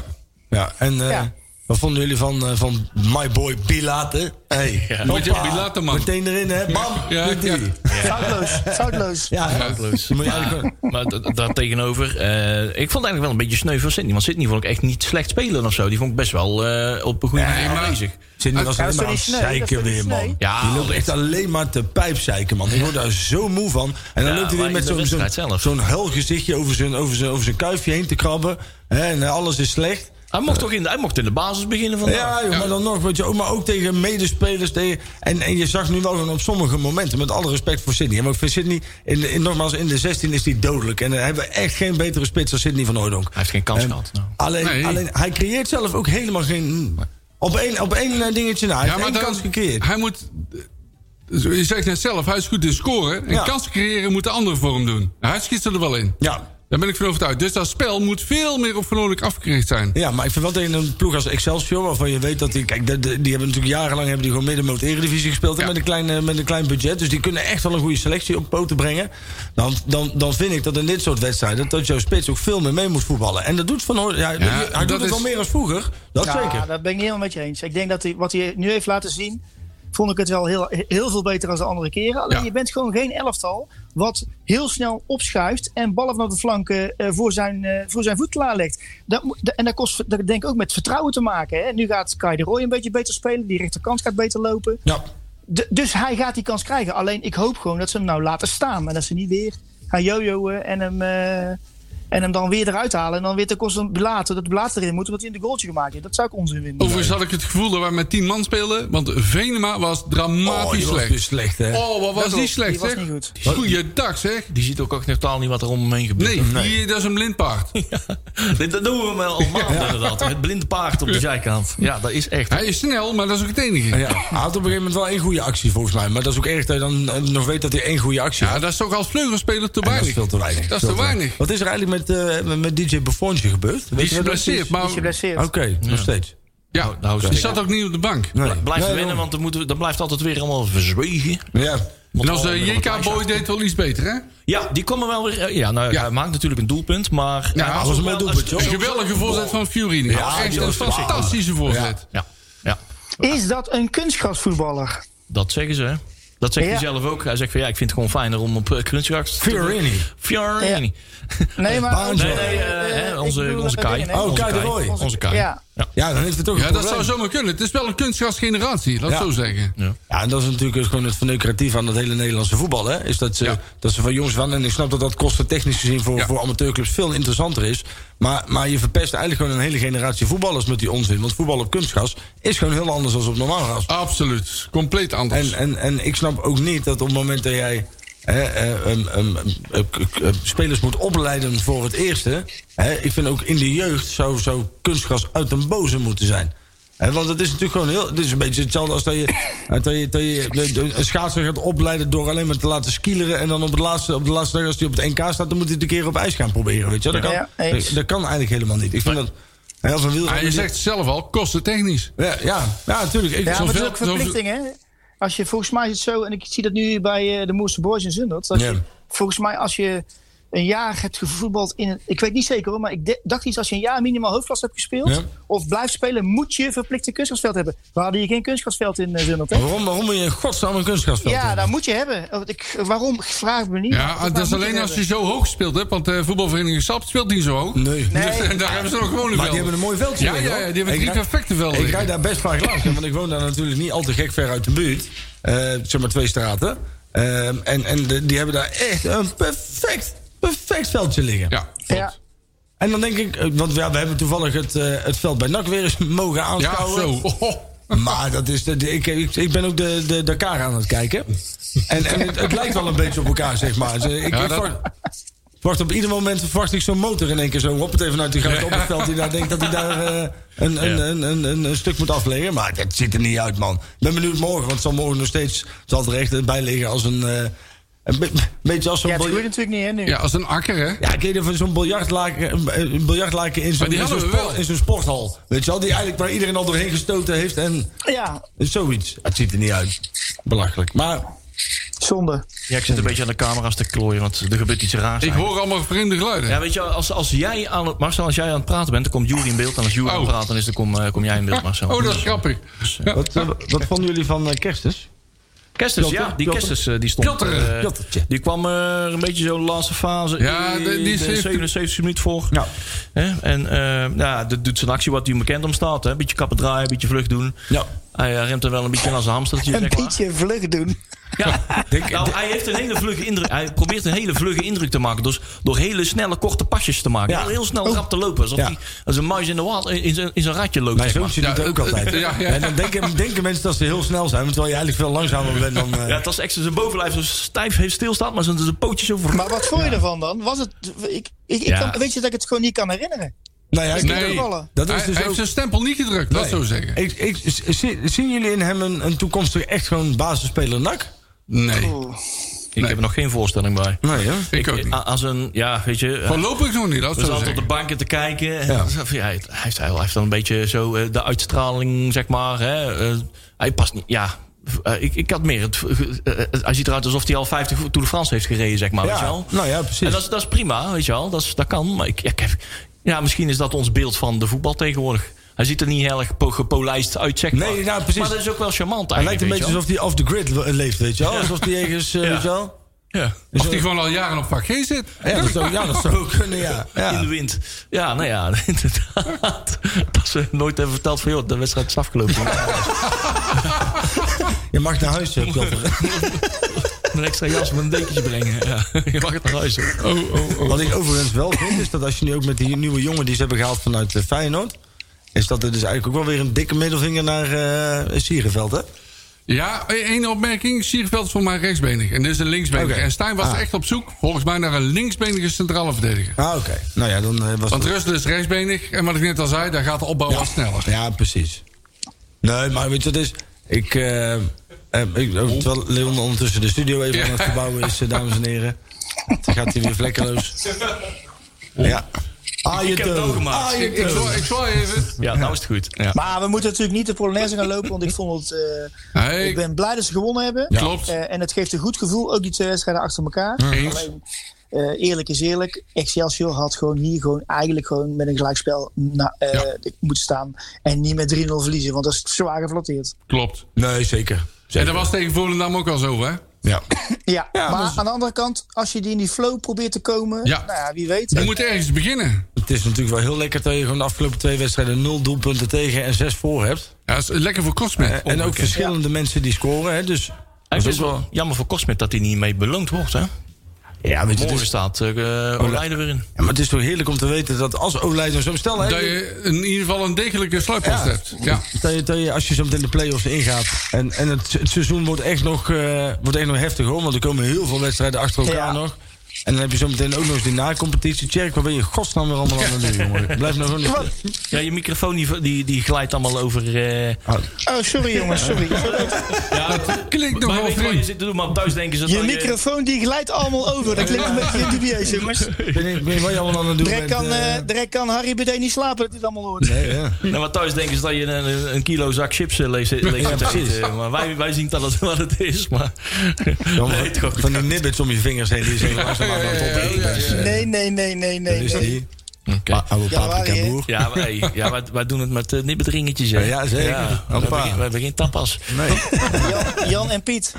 En eh,
Ja.
wat vonden jullie van, eh, van my boy Pilate? Hey. Ja.
Moet je Pilate, man.
Meteen erin, hè? Bam!
Ja,
Ja,
ja.
ja.
Foutloos, foutloos.
ja. Je moet je eigenlijk gewoon-
Maar da- daartegenover, eh, ik vond het eigenlijk wel een beetje sneu van Sydney. Want Sydney vond ik echt niet slecht spelen of zo. Die vond ik best wel eh, op een goede manier
maar-
aanwezig.
Ah. Sidney was
Ja,
alleen
dat
maar aan het
is toch niet Ah, sneu? Dat is
zeiken
toch niet
weer, man.
sneu?
Ja,
die loopt
altijd.
echt alleen maar te pijpzeiken, man. Ik word daar zo moe van. En dan
Ja,
loopt hij weer
maar
met
in de
zo'n zo'n
wedstrijd zelf.
zo'n huil gezichtje over zijn, over, zijn, over zijn kuifje heen te krabben. Hè, en eh, alles is slecht.
Hij mocht toch in de, hij mocht in de basis beginnen vandaag.
Ja, joh, maar dan nog, weet je, ook maar ook tegen medespelers. Tegen, en, en je zag nu wel gewoon op sommige momenten, met alle respect voor Sydney. hè, Maar ik vind Sydney, in, de- in, nogmaals, in de 16 is hij dodelijk. En dan hebben we echt geen betere spits dan Sydney van Hooydonk.
Hij heeft geen kans gehad. nou.
Alleen,
Nee.
alleen, hij creëert zelf ook helemaal geen... Op één, op één eh, dingetje na. Hij heeft één
dan-
kans gecreëerd.
Hij moet. Je zegt net zelf, hij is goed in scoren. En
Ja.
kansen creëren moet de andere voor hem doen. Nou, Hij schiet er wel in.
Ja,
Daar ben ik van overtuigd. Dus dat spel moet veel meer op Van Oorlog afgericht zijn.
Ja, maar ik vind wel tegen een ploeg als Excelsior, waarvan je weet dat die. Kijk, de- de- die hebben natuurlijk jarenlang hebben die gewoon middenmoot Eredivisie gespeeld. En
Ja.
met, een klein, eh, met een klein budget. Dus die kunnen echt wel een goede selectie op poten brengen. Dan, dan, dan vind ik dat in dit soort wedstrijden. dat jouw spits ook veel meer mee moet voetballen. En dat doet Van Hooy- Ja, hij
dat
doet het
is-
wel meer als vroeger. Dat
ja,
zeker.
dat ben ik niet helemaal met je eens. Ik denk dat hij, wat hij nu heeft laten zien, vond ik het wel heel, heel veel beter dan de andere keren. Alleen
Ja.
je bent gewoon geen elftal wat heel snel opschuift en ballen vanaf de flanken eh, voor, zijn, eh, voor zijn voet klaarlegt. Dat, moet- dat- en dat, kost, dat denk ik ook met vertrouwen te maken. Hè. Nu gaat Kai de Roy een beetje beter spelen, die rechterkant gaat beter lopen.
Ja.
D- dus hij gaat die kans krijgen. Alleen ik hoop gewoon dat ze hem nou laten staan. En dat ze niet weer gaan jojoen en hem, eh, en hem dan weer eruit halen. En dan weer te kosten later dat later erin moet. Omdat hij een goaltje gemaakt heeft. Dat zou ik onzin vinden.
Overigens had ik het gevoel dat wij met 10 man spelen. Want Venema was
Oh,
dramatisch
die was
slecht.
dus slecht, hè?
Oh, wat was
Dat
die
was-
slecht,
die was
zeg?
niet goed.
Goeiedag, zeg.
Die ziet ook echt totaal niet wat er om hem heen gebeurt.
Nee, Die, dat is een blindpaard.
Dat- Dat doen we hem al maanden inderdaad. Het blinde paard op de zijkant. Ja, dat is echt.
Hij is snel, maar dat is ook het enige.
Ja, hij had op een gegeven moment wel één goede actie volgens mij. Maar dat is ook erg dat je dan eh, nog weet dat hij één goede actie
Ja,
had.
dat is toch als vleugelspeler
En
te
dat
weinig.
is veel te weinig.
Dat is
Veel
te weinig.
Wat is er eigenlijk met, eh, met- met DJ Buffonje gebeurd?
Die
Weet
is
je wat dat is?
geblesseerd.
Die
Maar
is geblesseerd.
Oké, nog steeds.
ja,
nou,
die
zeker.
zat ook niet op de bank.
Nee.
Blijf
Nee,
winnen,
joh.
want dan, moeten we, dan blijft altijd weer allemaal verzwegen.
Ja.
Want
En als eh,
we
Oh,
de
allemaal
JK Boy deed wel iets beter, hè?
Ja, die komen wel weer. eh, Ja, nou,
Ja.
hij maakt natuurlijk een doelpunt, maar.
Ja,
hij
dat
was
ook
mijn
wel-
doelpunt, joh.
Een geweldige voorzet van Fury.
Ja,
echt
die
een
was geweldig.
fantastische voorzet.
Ja, ja,
Is dat een kunstgrasvoetballer?
dat zeggen ze. hè. Dat zegt
Ja.
hij zelf ook. Hij zegt van ja, ik vind het gewoon fijner om op eh, kunstgras te
Fiorini.
Fiorini.
Nee, maar...
Banjo.
Nee, nee, eh, hè,
ik
onze,
bedoel,
onze
eh,
Kai.
dingen, hè.
Oh,
onze
Kai de Roy.
Onze Kai.
Ja.
Ja, dan heeft het toch
Ja,
een
dat
probleem.
zou zomaar kunnen. Het is wel een kunstgrasgeneratie, laat ik
Ja.
zo zeggen.
Ja, en dat is natuurlijk ook gewoon het verneukeratief aan het hele Nederlandse voetbal. Hè? Is dat ze,
Ja.
dat ze van jongens van... En ik snap dat dat kosten technisch gezien voor,
Ja.
voor amateurclubs veel interessanter is. Maar, maar je verpest eigenlijk gewoon een hele generatie voetballers met die onzin. Want voetbal op kunstgas is gewoon heel anders dan op normaal gas.
Absoluut. Compleet anders.
En, en, en ik snap ook niet dat op het moment dat jij hè, eh, em, em, em, eh, k- k- eh, spelers moet opleiden voor het eerste. Hè, ik vind ook in de jeugd zou, zou kunstgras uit een boze moeten zijn. Hè, want het is natuurlijk gewoon heel. Het is een beetje hetzelfde als dat je, dat je, dat je de- de- een schaatser gaat opleiden door alleen maar te laten skileren. En dan op, het laatste, op de laatste dag, als hij op het NK staat, dan moet hij het een keer op ijs gaan proberen. Weet je? wel. Dat,
Ja,
kan,
eens.
dat, dat kan eigenlijk helemaal niet. Ik vind dat. Heel veel
Ah, je
wielrenners-
zegt zelf al, kostentechnisch.
Ja, ja, ja, natuurlijk. Ik,
Ja, maar het is
Zoveel-
ook verplichting, hè? Als je, volgens mij is het zo, en ik zie dat nu bij eh, de Moerse Boys in Zundert. Dat
Ja.
je, volgens mij als je een jaar hebt gevoetbald in... een- Ik weet niet zeker hoor, maar ik de- dacht iets als je een jaar minimaal hoofdklas hebt gespeeld...
Ja.
of blijft spelen, moet je verplicht een kunstgrasveld hebben. We hadden hier geen kunstgrasveld in eh, Zundert, hè?
Oh,
Waarom, waarom moet je in godsnaam een kunstgrasveld
Ja,
hebben?
dat moet je hebben. Want Ik, waarom? Ik Vraag het me niet.
Ja, ah,
Maar
dat is
moet
alleen
het
als je
hebben.
zo hoog speelt, hè? Want de voetbalvereniging Sap speelt niet zo hoog.
Nee.
Nee.
Dus, eh, daar hebben ze nog gewoon
Maar die
een velden.
hebben een mooi veldje.
Ja,
liggen,
ja,
hoor.
ja, die hebben
Ik
drie
rijd-
perfecte velden.
Ik rijd
liggen.
daar best vaak langs, hè, want ik woon daar natuurlijk niet al te gek ver uit de buurt. Eh, zeg maar twee straten. Ehm, en en de- die hebben daar echt een perfect, perfect veldje liggen.
Ja.
Ja.
En dan denk ik, eh, want ja, we hebben toevallig het, eh, het veld bij NAC weer eens mogen
Ja,
aanschouwen.
zo. Oh,
Maar dat is de, de- ik, ik, ik ben ook de, de Dakar aan het kijken. En, en het, het lijkt wel een beetje op elkaar, zeg maar. Dus, eh, ik,
Ja,
ik
dat-
wacht, wacht op ieder moment verwacht ik zo'n motor in één keer zo. Hop het even uit die grote op het veld. Die daar denkt dat hij daar eh, een, een,
Ja.
een, een, een, een stuk moet afleggen. Maar dat ziet er niet uit, man. Ik ben benieuwd morgen, want het zal morgen nog steeds... Het zal er echt bij liggen als een... eh, een be- beetje als zo'n...
Ja,
biljart-
dat gebeurt natuurlijk niet, hè, nu.
ja, als een akker, hè?
ja, ik weet niet of zo'n biljartlaken, een- een biljartlaken in
Maar
zo'n
die
in zo'n
hadden we
sport-
wel.
in zo'n sporthal. Weet je wel, die eigenlijk waar iedereen al doorheen gestoten heeft en...
Ja,
Zoiets. Het ziet er niet uit. Belachelijk. Maar
zonde.
Ja, ik zit een beetje aan de camera's te klooien, want er gebeurt iets raars.
Ik
eigenlijk.
hoor allemaal vreemde geluiden.
Ja, weet je, als, als jij aan het, Marcel, als jij aan het praten bent, dan komt Jury in beeld. En als Jury
Oh.
aan het praten is, dan kom, eh, kom jij in beeld, Marcel.
Oh, dat is grappig. Ja.
wat, eh, wat vonden jullie van eh, Kerstens?
Kerstens,
Pjotr,
ja, die
Pjotr.
Kerstens eh, die stond.
Pjotr,
eh,
Pjotr.
die kwam eh, een beetje zo de laatste fase.
Ja,
in
de- die
de
heeft-
77 minuut voor.
Ja.
Hè? En eh ja, dat doet zijn actie wat hij bekend om staat. Een beetje kappen draaien, een beetje vlucht doen.
Ja.
Hij eh, remt er wel een beetje aan zijn hamstertje.
Een
zeg maar.
beetje vlug doen.
Ja. nou, hij, heeft een hele vlugge indruk, hij probeert een hele vlugge indruk te maken. Dus door hele snelle, korte pasjes te maken.
Ja.
Heel, heel
Oh.
snel rap te lopen. Alsof
Ja.
hij als een muis in, de waal, in, zijn, in zijn ratje loopt.
Mijn
zeg maar.
zoontje doet
Ja,
dat ook
eh,
altijd.
eh, ja, ja.
En dan denken, denken mensen dat ze heel snel zijn, terwijl je eigenlijk veel langzamer bent dan... eh,
Ja, het was echt zo zijn bovenlijf zo stijf heeft stilstaat, maar zijn zijn pootjes zo...
Maar wat vond je ervan dan? Was het, ik, ik, ik
Ja.
kan, weet je dat ik het gewoon niet kan herinneren?
Nou ja, ik-
Nee.
Dat is
hij,
dus ook-
hij heeft zijn stempel niet gedrukt, dat zou zeggen.
ik, ik, zi- zien jullie in hem een, een toekomstig echt gewoon basisspeler nak?
Nee,
Ik heb er nog geen voorstelling bij.
Nee, hè?
ik ook niet.
A- Als een, ja, weet je... hij
Voorlopig nog niet, dat
We
zou
zaten op de
zeggen.
banken te kijken. En
Ja.
dan zei van, ja, hij, hij heeft, hij heeft dan een beetje zo eh, de uitstraling, zeg maar. Hè, eh, hij past niet, ja... Eh, ik, ik had meer het... eh, eh, hij ziet eruit alsof hij al 50 Tour de France heeft gereden, zeg maar. Weet je
Ja,
wel?
nou ja,
En
precies.
dat is, dat is prima, weet je wel. Dat, is, dat kan, maar ik, ja, ik heb- ja, misschien is dat ons beeld van de voetbal tegenwoordig. Hij ziet er niet heel erg po- gepolijst uit, zeg maar.
Nee, nou, precies.
Maar dat is ook wel charmant
Hij
eigenlijk.
lijkt een
weet
beetje
je wel.
alsof hij off the grid le- leeft, weet je wel. Alsof hij ergens, eh,
Ja.
weet je wel.
Ja.
Of die gewoon al jaren op vak G zit.
Ja, dat zou, ja, dat zou kunnen, ja.
In de
ja.
wind. Ja, nou ja, inderdaad. Dat ze nooit hebben verteld van, joh, de wedstrijd is afgelopen.
Je mag naar huis, eh, Pjotr.
een extra jas met een dekentje brengen. Ja, je mag het naar huis. hoor.
Oh, oh, oh.
Wat ik overigens wel vind, is dat als je nu ook met die nieuwe jongen die ze hebben gehaald vanuit eh, Feyenoord. Is dat er dus eigenlijk ook wel weer een dikke middelvinger naar eh Sierenveld, hè?
Ja, één opmerking. Sierveld is voor mij rechtsbenig. En dit is een linksbenig.
Oké.
En Stijn was
Ah.
echt op zoek, volgens mij, naar een linksbenige centrale verdediger.
Ah, oké. Nou ja, dan eh, was
Want
het...
Russel is rechtsbenig. En wat ik net al zei, daar gaat de opbouw wat sneller.
Ja, precies. Nee, maar weet je wat het is? Ik, eh, eh, ik oh, terwijl Leon ondertussen de studio even
Ja.
aan het verbouwen is, eh, dames en heren. Dan gaat hij weer vlekkeloos. Ja. Ah, je
heb het ook
toon.
gemaakt.
Ah, je
Ik
toon.
zwaai, ik zwaai even.
Ja, nou is het goed. Ja.
Maar we moeten natuurlijk niet de Polonaise gaan lopen, want ik vond het... eh,
Hey,
Ik ben blij dat ze gewonnen hebben.
Klopt.
Eh, en het geeft een goed gevoel, ook die twee wedstrijden achter elkaar.
Eens.
Eh, eerlijk is eerlijk, Excelsior had gewoon hier gewoon eigenlijk gewoon met een gelijkspel na, eh,
Ja.
moeten staan. En niet met 3-0 verliezen, want dat is zwaar geflatteerd.
Klopt.
Nee, zeker.
En
zeker.
dat was tegen Volendam ook al zo, hè?
Ja.
Ja, maar aan de andere kant, als je die in die flow probeert te komen,
dus- Ja.
nou ja, wie weet.
Je moet ergens beginnen.
Het is natuurlijk wel heel lekker dat je gewoon de afgelopen twee wedstrijden nul doelpunten tegen en zes voor hebt.
Ja, dat is lekker voor
Eh,
Kostmet.
en ook verschillende mensen die scoren. Hè, dus
Het is wel jammer voor Cosmet dat hij niet mee beloond wordt. Hè?
ja, weet je, het
Morgen
is,
staat eh Olijden weer in.
ja, maar het is toch heerlijk om te weten dat als Olij zo... Stel hè,
Dat je in ieder geval een degelijke sluitpost
Ja.
hebt. Ja.
dat je, dat je, als je zo meteen de play-offs ingaat... en, en het, het seizoen wordt echt nog, eh, wordt echt nog heftig hoor... want er komen heel veel wedstrijden achter elkaar
Ja.
nog. En dan heb je zometeen ook nog eens die na-competitie. Tjerk, waar ben je in godsnaam weer allemaal aan het doen, jongen? Blijf nou gewoon niet...
Ja, je microfoon die, die, die glijdt allemaal over. eh,
Oh, sorry jongens, sorry.
ja, dat
klinkt nog wel
je
vreemd.
zit te doen, maar thuis denken ze
Je
dat
microfoon die glijdt allemaal over. Dat klinkt een beetje dubieus, jongens.
Ik weet niet- ik weet niet wat je allemaal aan het doen
Direct
bent,
kan,
eh.
eh, direct kan Harry Bede niet slapen dat hij het allemaal hoort.
Nee, ja.
Nou, maar thuis denken ze dat je een, een kilo zak chips eh, leeg zit leeg zit te eten. Maar wij, wij zien dat het wat het is. Maar
Ja, maar
Nee, toch.
van die nibbits om je vingers heen die zijn langzaam aan het opeten.
Nee, nee, nee,
Dat
nee, nee.
Eh, is
nee.
die.
Oké.
Pa- Oude
Ja, waar
paprika
je-
boer.
Ja, maar, hey, ja wij, wij doen het met uh, nibbedringetjes. hè.
Ja, zeker.
we,
Hoppa.
hebben geen, we hebben geen tapas.
Nee.
Jan, Jan en Piet.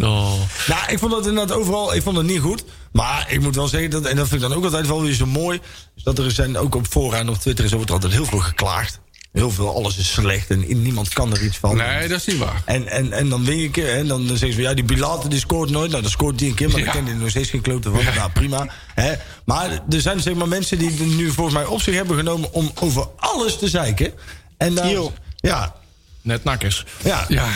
Oh.
Nou, ik vond dat inderdaad overal, ik vond het niet goed. Maar ik moet wel zeggen, dat, en dat vind ik dan ook altijd wel weer zo mooi... is dat er zijn, ook op fora en op Twitter is over het altijd heel veel geklaagd. Heel veel, alles is slecht en i- niemand kan er iets van.
Nee, dat is niet waar.
En, en, en dan win je een keer, hè, en dan zeggen ze... ja, die Bilate die scoort nooit. Nou, dan scoort die een keer, maar
Ja.
dan ken je er nog steeds geen klote van. Nou, prima. Hè. Maar er zijn zeg maar mensen die het nu volgens mij op zich hebben genomen... om over alles te zeiken. En daar,
Yo.
ja,
Net nakkers.
ja,
Ja,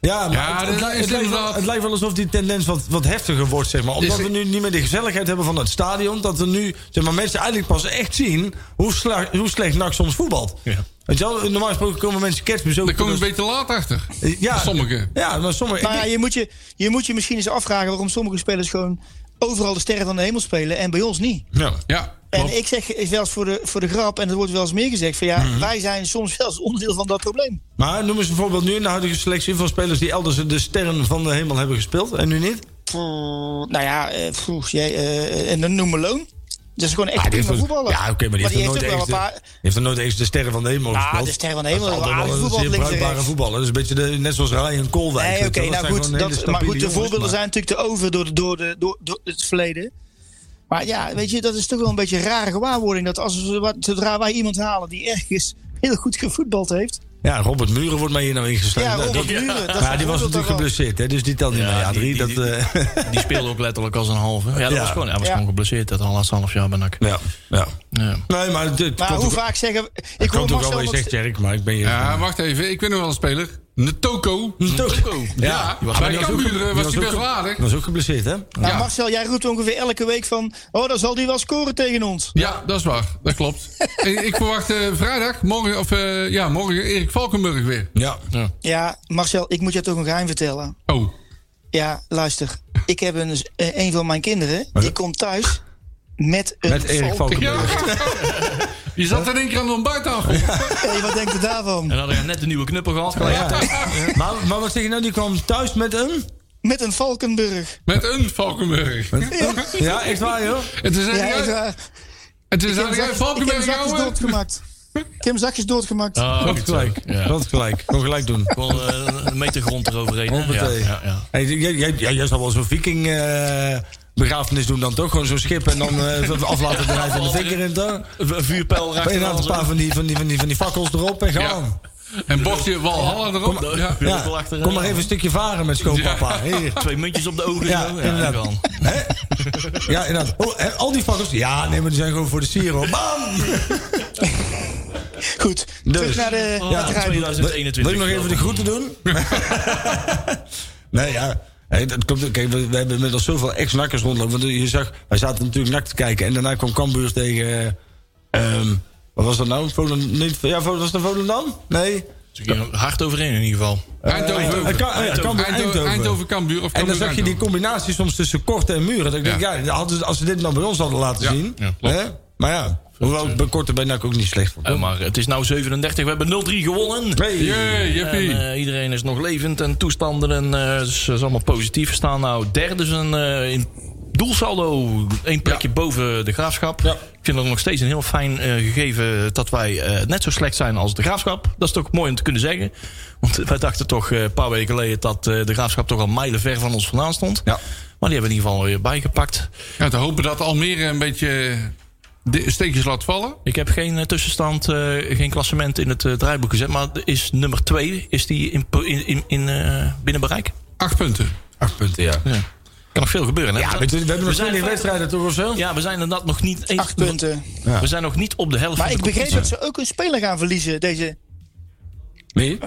ja, maar
Ja,
het,
dat
het, lijkt-
is
het lijkt wel,
inderdaad-
het lijkt wel alsof die tendens wat, wat heftiger wordt, zeg maar. Omdat
Is-
we nu niet meer de gezelligheid hebben van het stadion. Dat we nu, zeg maar, mensen eigenlijk pas echt zien hoe, sla- hoe slecht NAC soms voetbalt.
Ja.
Weet je wel, normaal gesproken komen mensen kerstmis ook...
daar kom ik een beetje laat achter.
ja,
Sommigen.
Ja, maar sommigen...
Maar ja, je moet je, je moet je misschien eens afvragen waarom sommige spelers gewoon overal de sterren van de hemel spelen en bij ons niet.
Ja.
Ja, klopt.
En ik zeg wel eens voor de, voor de grap, en er wordt wel eens meer gezegd: van ja,
Mhm.
wij zijn soms wel eens onderdeel van dat probleem.
Maar noem eens een voorbeeld nu in de huidige selectie van spelers... die elders de sterren van de hemel hebben gespeeld en nu niet.
Pff, nou ja, eh, pff, jij, eh, en dan noem Malone. Dat is gewoon
Ah,
Ah,
echt prima voetballer.
Ja, oké, maar die heeft, er nooit
ook wel
echt
een
de,
paar.
die heeft er nooit echt de sterren van de hemel
Ah,
gespeeld.
de sterren van de
Dat
hemel.
is
Dat
altijd wel
aardig
een
voetbal
zeer
links en
bruikbare
rechts.
voetballer. Dat is een beetje de, net zoals Ryan Koolwijk.
Nee,
weet
oké,
je wel. Dat zijn
nou goed.
gewoon hele
Dat, maar
stabiele
goed, de
jongens,
voorbeelden
maar-
zijn natuurlijk te over door, de- door, de, door, door het verleden. Maar ja, weet je, dat is toch wel een beetje een rare gewaarwording. Dat als we, wat- zodra wij iemand halen die ergens heel goed gevoetbald heeft.
Ja, Robert Muren wordt mij hier nou ingesleept.
Ja,
Nou,
Robert
dat-
Muren, dat
Maar
is een
die was
voorbeeld
natuurlijk
daarvan.
geblesseerd, hè, dus die telt niet
Ja,
mee. Ja,
die-
drie,
die-
dat... eh,
Die speelde ook letterlijk als een halve. Ja, dat
Ja.
was gewoon, hij was
Ja.
gewoon geblesseerd. Dat al laatste half jaar ben ik.
Ja, ja.
Ja.
Nee, maar het- het
Maar
komt
hoe
ook-
vaak zeggen. we- Ik
het
hoor
komt ook
Marcel
wel wat je
nog
zegt, Jerk, maar ik ben hier...
Ja, wacht even. Ik weet nog wel een speler. Netoko.
Toko.
Ja,
die was-
bij
die was ook-
Cambuur, eh, was die
ook-
best wel aardig.
die was ook geblesseerd, hè?
Nou,
Ja.
Marcel, jij roept ongeveer elke week van. Oh, dan zal die wel scoren tegen ons.
Ja, dat is waar. Dat klopt. ik, ik verwacht eh, vrijdag, morgen, of eh, ja, morgen Erik Valkenburg weer.
Ja.
Ja, Marcel, ik moet je toch een geheim vertellen.
Oh,
Ja, luister. Ik heb een, eh, een van mijn kinderen. Die komt thuis met een.
Met Erik
valk.
ja.
Valkenburg.
Je zat in één keer aan de ontbijttafel.
Hey, wat denkt u daarvan?
En hadden we net een nieuwe knuppel gehad. gelijk.
Ja. Maar, maar wat zeg je nou? Die kwam thuis met een...
Met een Valkenburg.
Met een Valkenburg.
Ja, echt waar, joh.
En toen zei
Ja,
hij,
echt
ja,
waar.
en toen
Ik
zei hij,
heb hem zak- ik heb hem
Valkenburg, nou,
zakjes
ouwe.
doodgemaakt. Ik heb hem zakjes doodgemaakt.
Ah,
Dat
goed
gelijk.
zo. Ja.
Dat gelijk. Gewoon gelijk doen.
Gewoon eh, een meter grond eroverheen. Ja,
Hoppatee.
ja, ja.
Hey, jij, jij, jij, jij zou wel zo'n viking eh, begrafenis doen dan toch? Gewoon zo'n schip en dan eh af laten drijven en de vinger in toch?
Een vuurpijl raakt
En
er
dan
al
een
zo.
paar van die, van die, van die, van die fakkels erop en gaan.
En bochtje Walhalla erop.
Kom-
Ja.
Ja.
Wil ik wel achteraan.
Kom maar even een stukje varen met schoonpapa. Hier.
Twee muntjes op de ogen.
Ja,
zo.
inderdaad.
kan.
Hè? Ja, inderdaad. Oh, en al die fakkels. Ja, nee, maar die zijn gewoon voor de siero. Bam!
Goed, terug naar de,
Oh,
naar het rijboek.
2021.
Wil je nog even de groeten doen? nee, ja. Hey, dat klopt. ook. Kijk, we, we hebben inmiddels zoveel ex-nakkers rondlopen. Want je zag, wij zaten natuurlijk nak te kijken. En daarna kwam Cambuur tegen... eh, ehm, wat was dat nou? Volend, niet, ja, Vol- was dat Volendam? Nee.
Hard overheen in ieder geval.
Eh, eh, Ka- eh,
Eindhoven.
Cambuur
Eindhoven.
Eindhoven.
Eindhoven, Cambuur of
En dan
Cambuur
zag je die
Eindhoven.
combinatie soms tussen korte en muren. Dat ik
Ja.
denk, ja, hadden ze- als ze dit nou bij ons hadden laten
Ja,
zien.
ja, klopt.
hè? Maar ja, hoewel ik bij korte bij NAC ook niet slecht vond.
Eh, maar het is nou 37. We hebben 0-3 gewonnen.
Hey.
Jee,
En,
jippie.
eh, iedereen is nog levend en toestanden. En eh, het is, is allemaal positief. We staan nou derde is een, eh, in doelsaldo. één plekje boven de graafschap.
Ja.
Ik vind dat nog steeds een heel fijn eh, gegeven dat wij eh, net zo slecht zijn als de graafschap. Dat is toch mooi om te kunnen zeggen. Want wij dachten toch eh, een paar weken geleden dat eh, de graafschap toch al mijlen ver van ons vandaan stond.
Ja.
Maar die hebben we in ieder geval weer bijgepakt.
Ja, te hopen dat Almere een beetje de steekjes laat vallen.
Ik heb geen eh, tussenstand, eh, geen klassement in het eh, draaiboek gezet. Maar is nummer 2 is die in, po- in, in, in, eh, binnen bereik?
Acht punten.
Acht punten, ja.
Ja. Kan nog veel gebeuren. Hè?
Ja, we, we hebben nog
zijn
20 wedstrijden toch of zo?
Ja, we zijn inderdaad nog niet eens.
Acht punten.
We zijn nog niet op de helft.
Maar
van
ik
de
begreep dat
competitie.
ze ook een speler gaan verliezen. Deze,
Nee?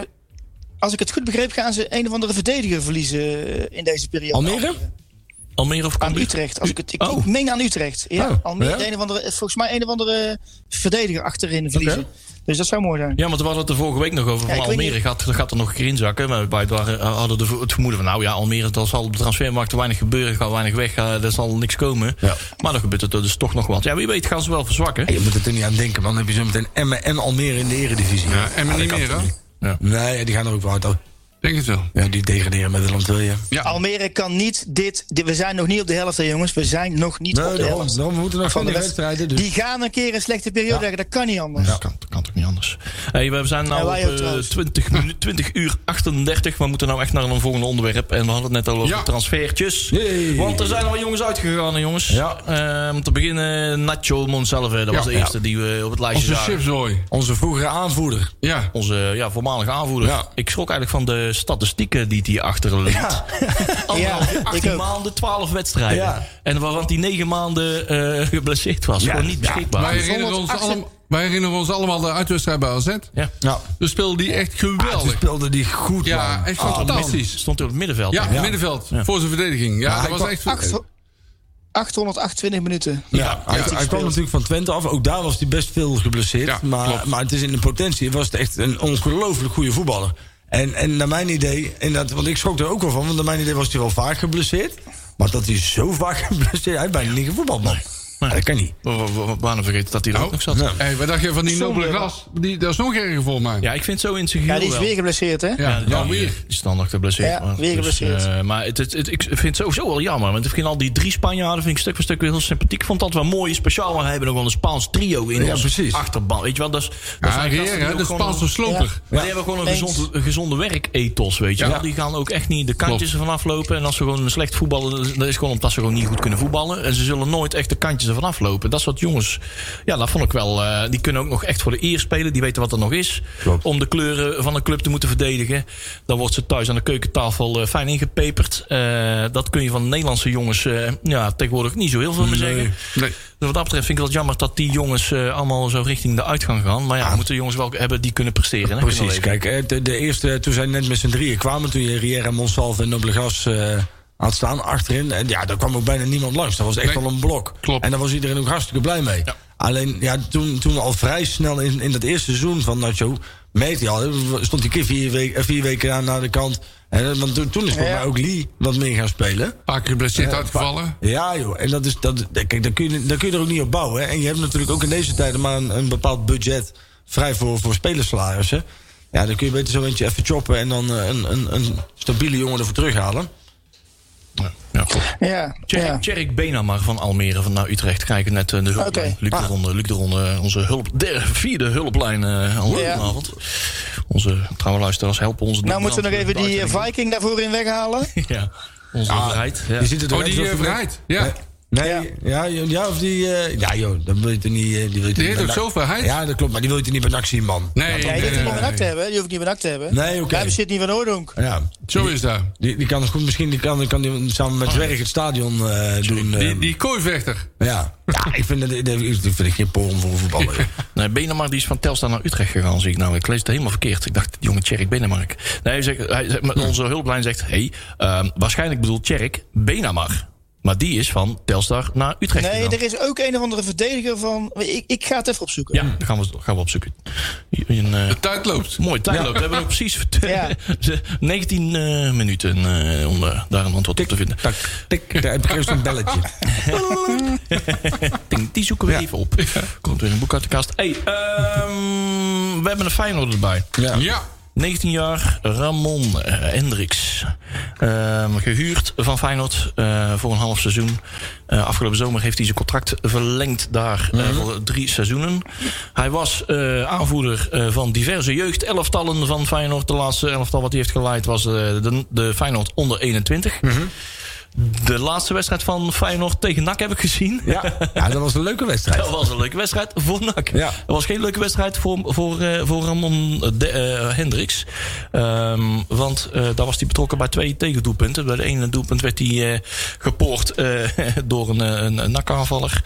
als ik het goed begreep, gaan ze een of andere verdediger verliezen eh, in deze periode.
Almere?
Almere of
Aan
Cambuur?
Utrecht. Als ik, het, ik,
Oh.
ik meen aan Utrecht. Ja,
Oh,
Almere,
ja?
de Een of andere, volgens mij een of andere verdediger achterin verliezen. Dus dat zou mooi zijn.
Ja, want we hadden het er vorige week nog over.
Ja,
van
ik weet
Almere gaat, gaat er nog een keer inzakken. Maar wij waren- eh, hadden de, vo- het vermoeden van... nou ja, Almere, dat zal op de transfermarkt weinig gebeuren. Gaat weinig weg, eh, er zal niks komen. Maar dan gebeurt het er dus toch nog wat. Ja, wie weet gaan ze wel verzwakken.
Je moet het er niet aan denken, man. Dan heb je zo meteen Emmen en Almere in de eredivisie. Ah,
Ja, en maar niet meer, hè?
Nee, die gaan er ook wel uit. hoor.
Denk het wel.
Ja, die degraderen met de land wil je.
Ja.
Almere kan niet dit, dit- We zijn nog niet op de helft, hè, jongens. We zijn nog niet op
Nee,
de
daarom,
helft.
daarom, we moeten nog van die
de
wedstrijden. Dus.
Die gaan een keer een slechte periode krijgen. Dat kan niet anders.
Dat, kan, dat kan toch niet anders. Hey, we zijn nu
Ja,
op
wij ook
eh,
trouwens.
20, minu- 20 uur 38. We moeten nou echt naar een volgende onderwerp. En we hadden het net al over
Ja.
transfertjes.
Jee.
Want er zijn al jongens uitgegaan, hè, jongens.
Ja.
Eh, om te beginnen Nacho Monsalve. Dat was de
Ja.
eerste die we op het lijstje
Onze
zagen.
chipsrooi.
Onze vroegere aanvoerder.
Ja.
Onze ja, voormalige aanvoerder.
Ja.
Ik schrok eigenlijk van de statistieken die hij achterliet. Ja. Anderhalf,
Ja,
jaar,
ik
18
ook.
maanden, 12 wedstrijden.
Ja.
En waarvan hij 9 maanden eh, geblesseerd was. Gewoon niet beschikbaar.
Wij herinneren, ons
118
allemaal, wij herinneren ons allemaal de uitwedstrijd bij AZ.
Ja.
Ja.
Toen speelde die echt
Ah, toen
geweldig.
speelde die goed,
Ja,
man.
echt
Ah,
fantastisch.
Stond hij op het middenveld.
Ja, middenveld. Voor zijn verdediging. Ja,
Maar
dat
hij
was
kwam
echt...
Acht- 828 minuten.
Ja, hij, hij kwam natuurlijk van Twente af. Ook daar was hij best veel geblesseerd.
Ja, klopt.
maar, maar het is in de potentie was het echt een ongelooflijk goede voetballer. En, en naar mijn idee, en dat, want ik schrok er ook wel van, want naar mijn idee was hij wel vaak geblesseerd. Maar dat hij zo vaak geblesseerd, hij heeft bijna niet gevoetbald, man. Ja, dat kan niet.
We- we- we- we waren vergeten dat hij
Oh,
er ook nog zat.
Ja.
Hé, wat dacht je van die nobele
Zonde.
gras? Die, dat is nog erger voor mij.
Ja, ik vind het zo in zijn
Ja,
geheel
die is
wel.
weer geblesseerd, hè?
Ja,
ja,
nou
die-
weer.
die is dan nog geblesseerd.
Ja,
maar-
weer geblesseerd.
eh, maar het, het, het- ik vind het sowieso wel jammer. Want ik vind al die drie Spanjaarden vind ik stuk voor stuk weer heel sympathiek. Ik vond dat wel mooi. Speciaal, maar we hebben nog wel een Spaans trio in
Ja,
ons
precies.
achterban. Weet je wel, dat is... dat
Ja,
zijn gasten
Rier,
die
hè,
ook
de
gewoon
Spaanse
een-
sloper.
Maar die hebben gewoon een
Eens.
gezonde, een gezonde werkethos, weet je
Ja.
wel. Die gaan ook echt niet de kantjes ervan aflopen. En als ze gewoon slecht voetballen, dat is gewoon omdat ze gewoon niet goed kunnen voetballen. En ze zullen nooit echt de kantjes ervan aflopen. Dat soort jongens, ja, dat vond ik wel. eh, die kunnen ook nog echt voor de eer spelen. Die weten wat er nog is.
Klopt.
Om de kleuren van een club te moeten verdedigen. Dan wordt ze thuis aan de keukentafel eh, fijn ingepeperd. Eh, dat kun je van Nederlandse jongens eh, ja, tegenwoordig niet zo heel veel meer zeggen.
Nee.
Dus wat dat betreft vind ik het wel jammer dat die jongens eh, allemaal zo richting de uitgang gaan. Maar ja, we moeten jongens wel hebben die kunnen presteren. hè, kunnen
Precies,
leven.
kijk, eh, de, de eerste, toen zij net met z'n drieën kwamen, toen je Riera, Monsalve en Noblegas eh had staan achterin, en ja, daar kwam ook bijna niemand langs. Dat was echt
Nee.
al een blok.
Klopt.
En daar was iedereen ook hartstikke blij mee.
Ja.
Alleen, ja, toen, toen al vrij snel in, in dat eerste seizoen van Nacho, meet hij al, stond die keer vier, week- eh, vier weken aan naar de kant. En, eh, want toen, toen is volgens
Ja.
mij ook Lee wat meer gaan spelen.
Een paar keer geblesseerd uitgevallen.
Ja, joh. En dat is, dat, kijk, daar kun, je, daar kun je er ook niet op bouwen. Hè. En je hebt natuurlijk ook in deze tijden maar een, een bepaald budget vrij voor, voor spelersalarissen. Ja, dan kun je beter zo eentje even choppen en dan eh, een, een, een stabiele jongen ervoor terughalen.
Ja, klopt.
Ja, ja.
Tjerk Tjerk Benamar van Almere van naar Utrecht. Kijken net eh, de hulplijn.
Oké.
Luc, de
Ah.
Ronde, Luc de Ronde, onze hulp, de vierde hulplijn eh al
Ja.
vanavond. Onze trouwe luisteraars helpen ons.
Nou moeten we nog even die eh,
Viking.
Viking daarvoor in weghalen.
Ja, onze overheid. Ja.
Je ziet het er
Oh,
net
die
alsof
eh,
je-
verheid. Ja.
Nee, ja. Ja, of die... eh, ja, joh, dat wil je toch niet... eh, die wil je toch
Die
niet
heet ook
bij-
zo verheid.
Ja, dat klopt, maar die wil je toch niet bij NAC zien, man.
Nee,
Ja, die
nee,
hoeft niet
nee,
benakt te
nee.
hebben. hè. Die hoeft niet benakt te hebben.
Nee, oké.
Daar bezit niet van Oordonk.
Ja,
Zo is dat.
die, die kan goed, misschien die kan, kan die samen met Zwerg het stadion eh, doen. eh,
Oh. Die, die kooivechter.
Ja, ja ik vind dat, dat, dat vind ik geen porum voor een voetballer. joh.
Nee, Benamar die is van Telstar naar Utrecht gegaan, zie ik nou. Ik lees het helemaal verkeerd. Ik dacht, jonge Tjerk Benamar. Nee, hij zegt, hij zegt, maar onze hulplijn zegt... hey, ehm, waarschijnlijk bedoelt Tjerk Benamar. Maar die is van Telstar naar Utrecht
Nee,
gegaan.
er is ook een of andere verdediger van. Ik, ik ga het even opzoeken.
Ja, dat gaan we, gaan we opzoeken. Een, eh,
De tijd loopt.
Mooi tijdloop. We hebben nog precies
Ja.
19 eh, minuten eh, om eh, daar een antwoord op te vinden.
Tak, tik, daar heb ik eerst een belletje.
Ting, Ah, Die zoeken we even op. Komt weer een boek uit de kast. Hey, ehm, we hebben een Feyenoord erbij.
Ja.
19 jaar, Ramon eh, Hendricks. Ehm, gehuurd van Feyenoord eh, voor een half seizoen. Eh, afgelopen zomer heeft hij zijn contract verlengd daar eh, voor drie seizoenen. Hij was eh, aanvoerder eh, van diverse jeugdelftallen van Feyenoord. De laatste elftal wat hij heeft geleid was eh, de, de Feyenoord onder 21. De laatste wedstrijd van Feyenoord tegen NAC heb ik gezien.
Ja. ja, dat was een leuke wedstrijd.
Dat was een leuke wedstrijd voor NAC.
Ja.
Dat was geen leuke wedstrijd voor, voor, eh, voor Ramon eh, de, eh, Hendricks. Ehm, want eh, daar was hij betrokken bij twee tegendoelpunten. Bij de ene doelpunt werd hij eh gepoord eh, door een, eh, een, een NAC-aanvaller.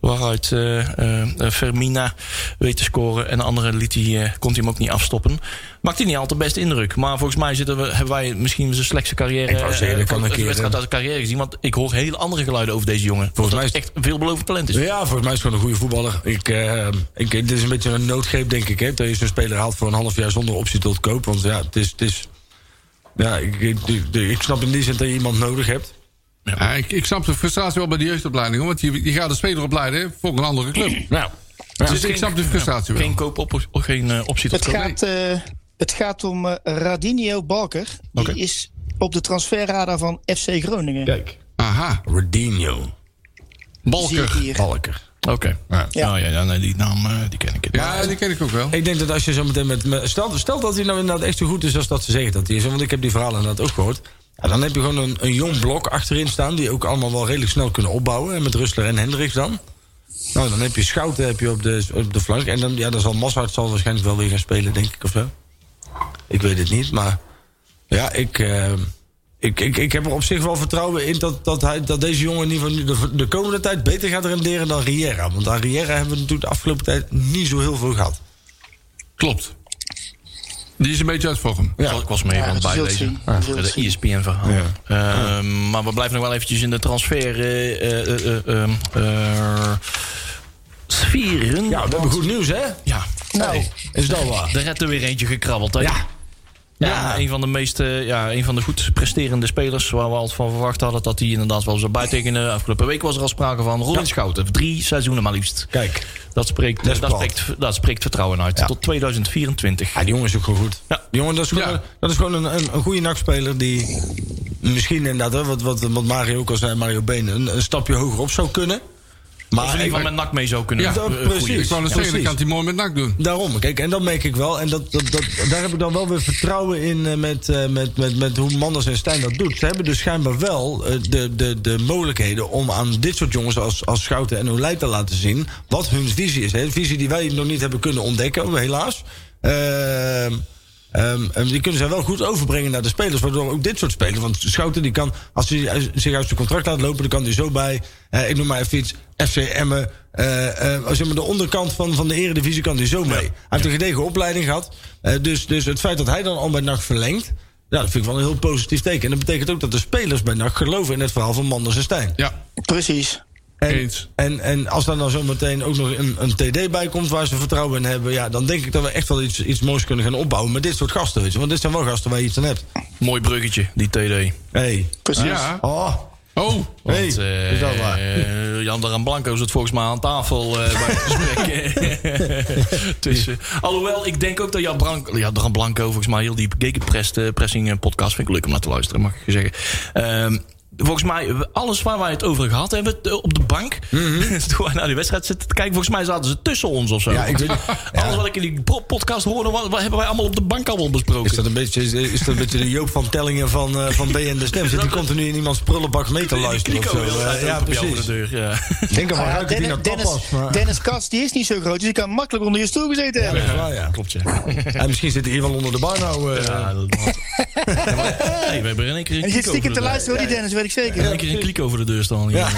Waaruit eh, eh, eh, Fermina weet te scoren. En de andere liet hij, eh, kon hij hem ook niet afstoppen. Maakt hij niet altijd best indruk. Maar volgens mij zitten we, hebben wij misschien zijn slechtste carrière.
Ik wou zeggen, dat kan
eh, van
een
het
keer,
wedstrijd
hè.
uit de carrière gezien. Want ik hoor hele andere geluiden over deze jongen. Volgens
mij
mij
is-
is echt een veelbelovend talent is.
Ja, volgens mij is het gewoon een goede voetballer. Ik, eh, ik, dit is een beetje een noodgreep, denk ik. Hè, dat je zo'n speler haalt voor een half jaar zonder optie tot koop. Want ja, het is. Het is ja, ik, ik, ik- ik snap in die zin dat je iemand nodig hebt.
Ja, ik, ik snap de frustratie wel bij de jeugdopleiding. hoor, Want je, je gaat de speler opleiden voor een andere club.
Nou,
dus ik snap de frustratie wel.
Geen koop op, of geen eh, optie tot
Het
koop.
gaat, eh, het gaat om eh, Radinio Balker. Die
Oké.
is op de transferradar van FC Groningen.
kijk.
Aha.
Rodinho.
Zie ik
Balker.
hier.
Balker.
Oké.
Ja.
Nou ja, ja, nee, die naam eh, die ken ik.
Ja, die ken ik ook wel.
Ik denk dat als je zo meteen met. met- Stel, stel dat hij nou inderdaad echt zo goed is als dat ze zeggen dat hij is. hè, Want ik heb die verhalen inderdaad ook gehoord. Ja, dan heb je gewoon een, een jong blok achterin staan. Die ook allemaal wel redelijk snel kunnen opbouwen. En met Rustler en Hendricks dan. Nou, dan heb je Schouten heb je op, de, op de flank. En dan, ja, dan zal Massaert zal waarschijnlijk wel weer gaan spelen, denk ik of zo. Ik weet het niet, maar. Ja, ik. eh, ik, ik, ik heb er op zich wel vertrouwen in dat, dat, hij, dat deze jongen in ieder geval nu de, de komende tijd beter gaat renderen dan Riera. Want aan Riera hebben we natuurlijk de afgelopen tijd niet zo heel veel gehad.
Klopt. Die is een beetje uit vorm.
Ja. Ik was me even
Ja,
aan het
we zullen
bijlezen.
het zien. We zullen
De E
het zien.
ESPN-verhaal. Ehm, Maar we blijven nog wel eventjes in de transfer... eh, eh, eh, eh, eh, eh, sferen.
Ja, Nou, we hebben goed nieuws, hè?
Ja.
Nou,
Is dat waar?
Er werd er weer eentje gekrabbeld. Hè?
Ja.
Ja, Een van de meest, eh, ja, een van de goed presterende spelers waar we altijd van verwacht hadden dat hij inderdaad wel zou bijtekenen. Afgelopen week was er al sprake van Robin Schouten. Drie seizoenen maar liefst.
Kijk,
Dat spreekt,
Dat is
dat
plat.
spreekt, dat spreekt vertrouwen uit.
Ja.
Tot 2024.
ja, die jongen is ook gewoon goed.
Ja.
Die jongen, dat is gewoon,
Ja.
dat is gewoon een, een, een goede nachtspeler die misschien inderdaad, hè, wat, wat, wat Mario ook al zei, Mario Been, een, een stapje hoger op zou kunnen. Maar
Of in ieder geval met NAC mee zou kunnen.
Ja,
eh,
dat-
groeien.
precies.
Ik wou net
Ja,
zeggen,
precies.
dat kan hij mooi met nak doen.
Daarom, kijk, en dat merk ik wel. En dat, dat, dat, daar heb ik dan wel weer vertrouwen in eh, met, eh, met, met, met hoe Manders en Stijn dat doet. Ze hebben dus schijnbaar wel eh, de, de, de mogelijkheden om aan dit soort jongens als, als Schouten en Olij te laten zien wat hun visie is. Hè. Een visie die wij nog niet hebben kunnen ontdekken, helaas. Ehm, ehm, ehm, die kunnen zij wel goed overbrengen naar de spelers. Waardoor ook dit soort spelers. Want Schouten die kan, als hij eh, zich uit zijn contract laat lopen, dan kan hij zo bij. eh, ik noem maar even iets. FC Emmen. eh, eh, zeg maar de onderkant van, van de Eredivisie kan hij zo mee. Hij heeft een gedegen opleiding gehad. Eh, dus, dus het feit dat hij dan al bij NAC verlengt. Ja, dat vind ik wel een heel positief teken. En dat betekent ook dat de spelers bij NAC geloven in het verhaal van Manders en Stijn.
Ja,
precies.
En,
Eens.
en, en als daar dan zometeen ook nog een, een TD bij komt waar ze vertrouwen in hebben, ja, dan denk ik dat we echt wel iets, iets moois kunnen gaan opbouwen met dit soort gasten. Weet je? Want dit zijn wel gasten waar je iets aan hebt.
Mooi bruggetje, die TD.
Hey.
precies.
Ja.
Oh.
Oh,
Hey.
Want, eh,
is dat waar?
eh, Jan Daran Blanco zit volgens mij aan tafel eh, bij het gesprek. Tussen. Alhoewel, ik denk ook dat Jan, Bran Jan Daran Blanco volgens mij heel die gegenpressing eh, podcast vind ik leuk om naar te luisteren, mag ik je zeggen. Ehm, Volgens mij, alles waar wij het over gehad hebben eh, op de bank. Toen wij naar die wedstrijd zitten te kijken, volgens mij zaten ze tussen ons of zo.
Mhm. Ja, ik weet niet.
Alles wat ik in die pro- podcast hoorde, wat, wat hebben wij allemaal op de bank allemaal besproken.
Is dat, een beetje, is, is dat een beetje de Joop van Tellingen van, eh, van B en de Stem? Zit die continu in iemands prullenbak mee te
Die
luisteren of
kliko
zo?
heel
Eh,
de tijd
ja,
open bij jou
precies.
voor de deur, ja.
Ik Denk ervan
Ah,
ruiken die
Dennis,
naar tapas.
Dennis,
maar-
Dennis Kats, die is niet zo groot, dus die kan makkelijk onder je stoel gezeten hebben.
Ja, ja.
Klopt, ja.
En misschien zit hij hier wel onder de bar nou. eh.
Ja, dat was... hey, we hebben in één keer een
En je zit
kliek over
stiekem
de
te
deur.
luisteren, hoor, die Dennis, weet ik
In
zeker.
één keer een kliek over de deur staan. hier.
Ja.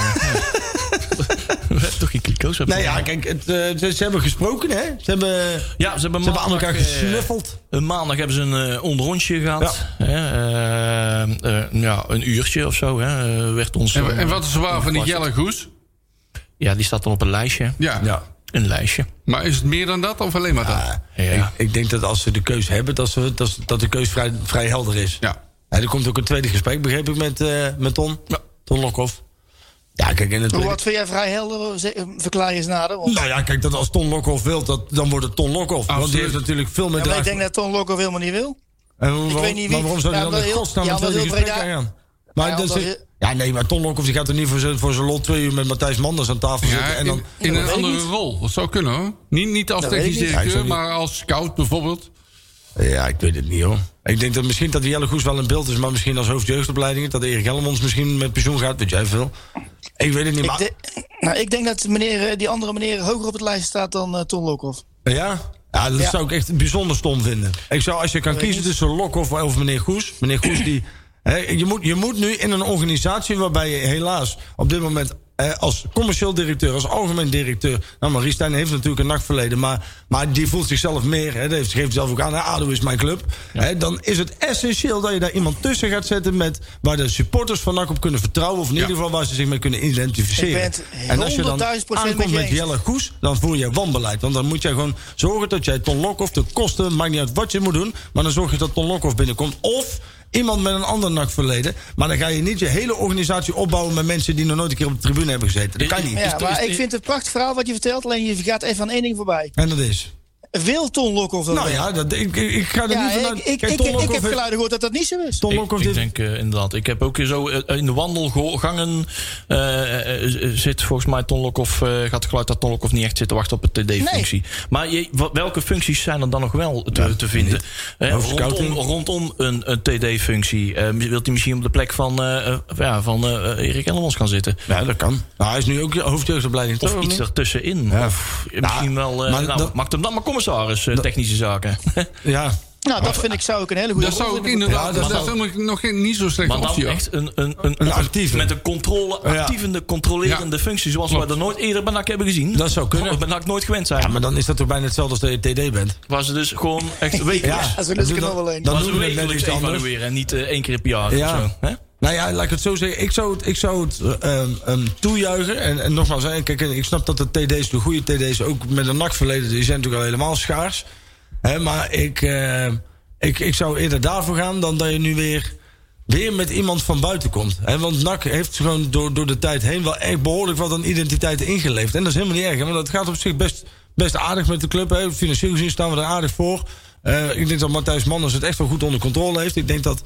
We hebben toch geen kliko's?
Nou ja, kijk, het, eh, ze, ze hebben gesproken, hè? Ze hebben, ze
Ja, ze hebben,
hebben aan elkaar
maandag, eh,
gesnuffeld.
een maandag hebben ze een eh onderrondje gehad. Hè, eh, eh, ja, een uurtje of zo. Hè, eh, werd ons,
en, en wat is er waar van die Jelle Goes?
Ja, die staat dan op een lijstje.
Ja.
Ja.
Een lijstje.
Maar is het meer dan dat of alleen maar dat? Ja.
Ja.
Ik, ik denk dat als ze de keus hebben, dat, ze, dat, ze- dat de keus vrij, vrij helder is. En er komt ook een tweede gesprek, begreep ik, met, eh, met Ton. Ton Lokhoff. Ja, kijk, en het
Hoe Wat vind jij vrij helder, Zeg- verklaar je eens nader. want-
Nou ja, kijk, dat als Ton Lokhoff wil, dat, dan wordt het Ton Lokhoff. Want die
Absoluut.
heeft natuurlijk veel meer
Ja, maar ik
draag-
denk dat Ton Lokhoff helemaal niet wil.
En waarom,
ik weet niet wie-
maar waarom zou hij
Ja,
dan
wel
in
heel-
godsnaam
ja,
een
wel
tweede
heel
gesprek
Breda.
aangaan? Maar
Ja,
dat
wel
is-
heel-
ja, nee, maar Ton Lokhoff die gaat er niet voor zijn, voor zijn lot twee uur met Matthijs Manders aan tafel zitten. en dan,
in in een
ik
andere
niet.
rol. Dat zou kunnen hoor. Niet, niet als
Dat weet
technisch
ik niet.
Ja, ik
directeur,
zou niet-
maar als scout bijvoorbeeld.
Ja, ik weet het niet hoor. Ik denk dat misschien dat die Jelle Goes wel in beeld is, maar misschien als hoofdjeugdopleiding. Dat Erik Helmonds misschien met pensioen gaat, weet jij veel. Ik weet het niet,
Ik,
maar.
de- nou, ik denk dat meneer, eh, die andere meneer hoger op het lijstje staat dan eh, Ton Lokhoff.
Ja? Ja, dat
Ja.
zou ik echt bijzonder stom vinden. Ik zou, als je kan kiezen tussen Lok of, of meneer Goes. Meneer Goes, die. Hè, je, moet, je moet nu in een organisatie waarbij je helaas op dit moment eh, als commercieel directeur, als algemeen directeur. Nou, Marie Stijn heeft natuurlijk een nachtverleden. Maar, maar die voelt zichzelf meer. Hè, dat heeft, geeft zelf ook aan. hè, ADO is mijn club. Hè, dan is het essentieel dat je daar iemand tussen gaat zetten. Met, waar de supporters van NAC op kunnen vertrouwen. Of in ieder geval waar ze zich mee kunnen identificeren.
Ik ben het
en als je dan
100.000%
aankomt
met je
met
eens.
Jelle Goes. dan voer je wanbeleid. Want dan moet jij gewoon zorgen dat jij Ton Lokhoff de kosten. maakt niet uit wat je moet doen. maar dan zorg je dat Ton Lokhoff binnenkomt. Of iemand met een ander NAC-verleden. Maar dan ga je niet je hele organisatie opbouwen. met mensen die nog nooit een keer op de tribune hebben gezeten. Dat kan niet.
Ja, maar ik vind het een prachtig verhaal wat je vertelt. Alleen je gaat even aan één ding voorbij.
En dat is.
Wil Ton Lokhoff dat
Nou
wel?
ja, dat, ik, ik, ik ga er
Ja,
niet
ik,
vanuit.
ik,
Kijk,
ik,
Ton
ik
Lokhoff
heb
heeft-
geluiden gehoord dat dat niet zo is.
Ton
Ik,
Lokhoff
ik
heeft-
denk eh, inderdaad. Ik heb ook zo eh, in de wandelgangen eh, eh, eh, zit volgens mij Ton Lokhoff, eh, gaat het geluid dat Ton Lokhoff niet echt zit te wachten op een TD-functie. Maar je, wa- welke functies zijn er dan nog wel te,
Nou,
te vinden? Eh, rondom,
Hoofdscouting.
rondom een, een TD-functie. Eh, wilt hij misschien op de plek van, eh, eh, ja, van eh, Erik Ellemans gaan zitten?
Ja, dat kan. Nou, hij is nu ook hoofdjeugdopleiding.
Of
toch,
iets
niet?
ertussenin.
Ja.
Of misschien wel. eh,
maar
nou,
dat-
maakt hem dan maar commissaris, eh, technische zaken.
Ja.
Nou, dat vind ik zou ook een hele goede
Dat
rol
zou ik
vinden voor
inderdaad,
Ja,
dat,
dat
is helemaal nog geen, niet zo slecht
Maar dan
optie. hoor.
echt een, een, een,
Een actieve.
Met een controle,
Ja.
actievende, controlerende functie. Zoals we
Klopt.
dat nooit eerder bij NAC hebben gezien.
Dat zou kunnen.
We bij NAC nooit gewend zijn.
ja, maar dan is dat toch bijna hetzelfde als dat je TD bent.
Waar ze dus gewoon echt wekelijks...
dat is een
dan
lusje
doe-
nog wel een.
Dan
waar
doen
ze
we het net
wekelijks
iets anders.
evalueren. En niet eh, één keer per jaar
Ja.
of zo. Hè?
Nou ja, laat ik het zo zeggen. Ik zou het, ik zou het eh, ehm, ehm, toejuichen. En, en nogmaals, hè, kijk, ik snap dat de TD's, de goede TD's, ook met een nakverleden, die zijn natuurlijk al helemaal schaars. Hè, maar ik, eh, ik, ik zou eerder daarvoor gaan dan dat je nu weer, weer met iemand van buiten komt. Hè, want NAC heeft gewoon door, door de tijd heen wel echt behoorlijk wat aan identiteit ingeleefd. En dat is helemaal niet erg, hè, want dat gaat op zich best, best aardig met de club. Hè. Financieel gezien staan we er aardig voor. Eh, ik denk dat Matthijs Manners het echt wel goed onder controle heeft. Ik denk dat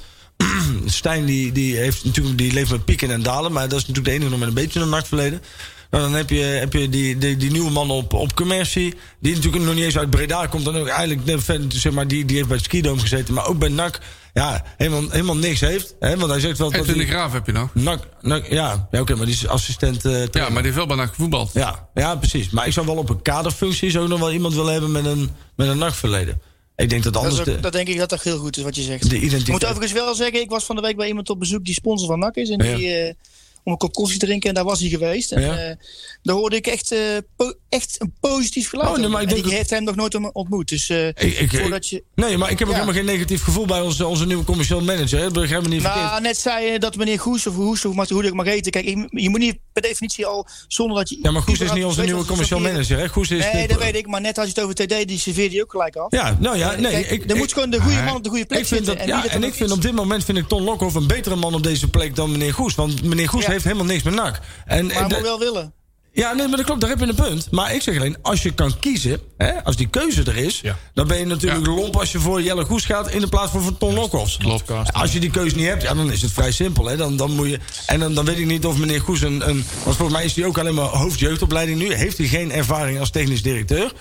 Stijn die, die, heeft natuurlijk, die leeft met pieken en dalen. Maar dat is natuurlijk de enige nog met een beetje een nachtverleden. Nou, dan heb je, heb je die, die, die nieuwe man op, op commercie. Die natuurlijk nog niet eens uit Breda komt. Dan ook eigenlijk, net verder, zeg maar, die, die heeft bij het skidoom gezeten. Maar ook bij NAC. Ja, helemaal, helemaal niks heeft. Hè, want hij zegt wel dat
Edwin de
hij-
Graaf heb je nog.
NAC, NAC, ja, ja oké, maar die is assistent eh,
Ja, maar
trainer.
die heeft wel bijna gevoetbald.
Ja, ja, precies. Maar ik zou wel op een kaderfunctie zou ik nog wel iemand willen hebben met een, met een nachtverleden. Ik denk dat
Dat,
anders...
is ook-
de-
dat denk ik dat dat heel goed is wat je zegt.
De identiteit.
Ik moet overigens wel zeggen, ik was van de week bij iemand op bezoek die sponsor van NAC is. En
Ja.
die, eh, om een kop koffie te drinken en daar was hij geweest. En
Ja.
eh, daar hoorde ik echt, eh, po- echt een positief geluid.
Oh, nee,
over.
maar ik
en
denk
die
dat-
heeft hem nog nooit om- ontmoet. Dus eh,
Ik- ik-
voordat je...
Nee, maar ik heb ook
Ja.
helemaal geen negatief gevoel bij onze, onze nieuwe commercieel manager. Hè. Begrijp me niet verkeerd.
Nou, net zei je dat meneer Goes of Hoes, of maar hoe ik mag eten. Kijk, je, je moet niet per definitie al zonder dat je.
Ja, maar Goes is niet
überhaupt
onze
weet
nieuwe
wat
commercieel
sorteren.
manager. Hè? Goes is
Nee,
Dus de-
dat weet ik. Maar net als je het over TD, die serveerde je ook gelijk af.
Ja, nou ja, nee.
Kijk,
ik,
er
ik-
moet gewoon de goede man op de goede plek
ik vind dat,
zitten.
ja,
wie
en
dan
ik
ook
vind
is.
op dit moment vind ik Ton Lokhoff een betere man op deze plek dan meneer Goes. Want meneer Goes
Ja.
heeft helemaal niks met NAC. En,
Maar
en
hij
dat-
moet wel willen.
Ja, nee, maar dat klopt, daar heb je een punt. Maar ik zeg alleen, als je kan kiezen, hè, als die keuze er is...
Ja.
dan ben je natuurlijk
Ja.
lomp als je voor Jelle Goes gaat... in de plaats van voor Ton Lokhoff.
Klopt.
Als je die keuze niet hebt, ja, dan is het vrij simpel. Hè? Dan, dan moet je, en dan, dan weet ik niet of meneer Goes een, een... Want volgens mij is hij ook alleen maar hoofdjeugdopleiding nu. Heeft hij geen ervaring als technisch directeur?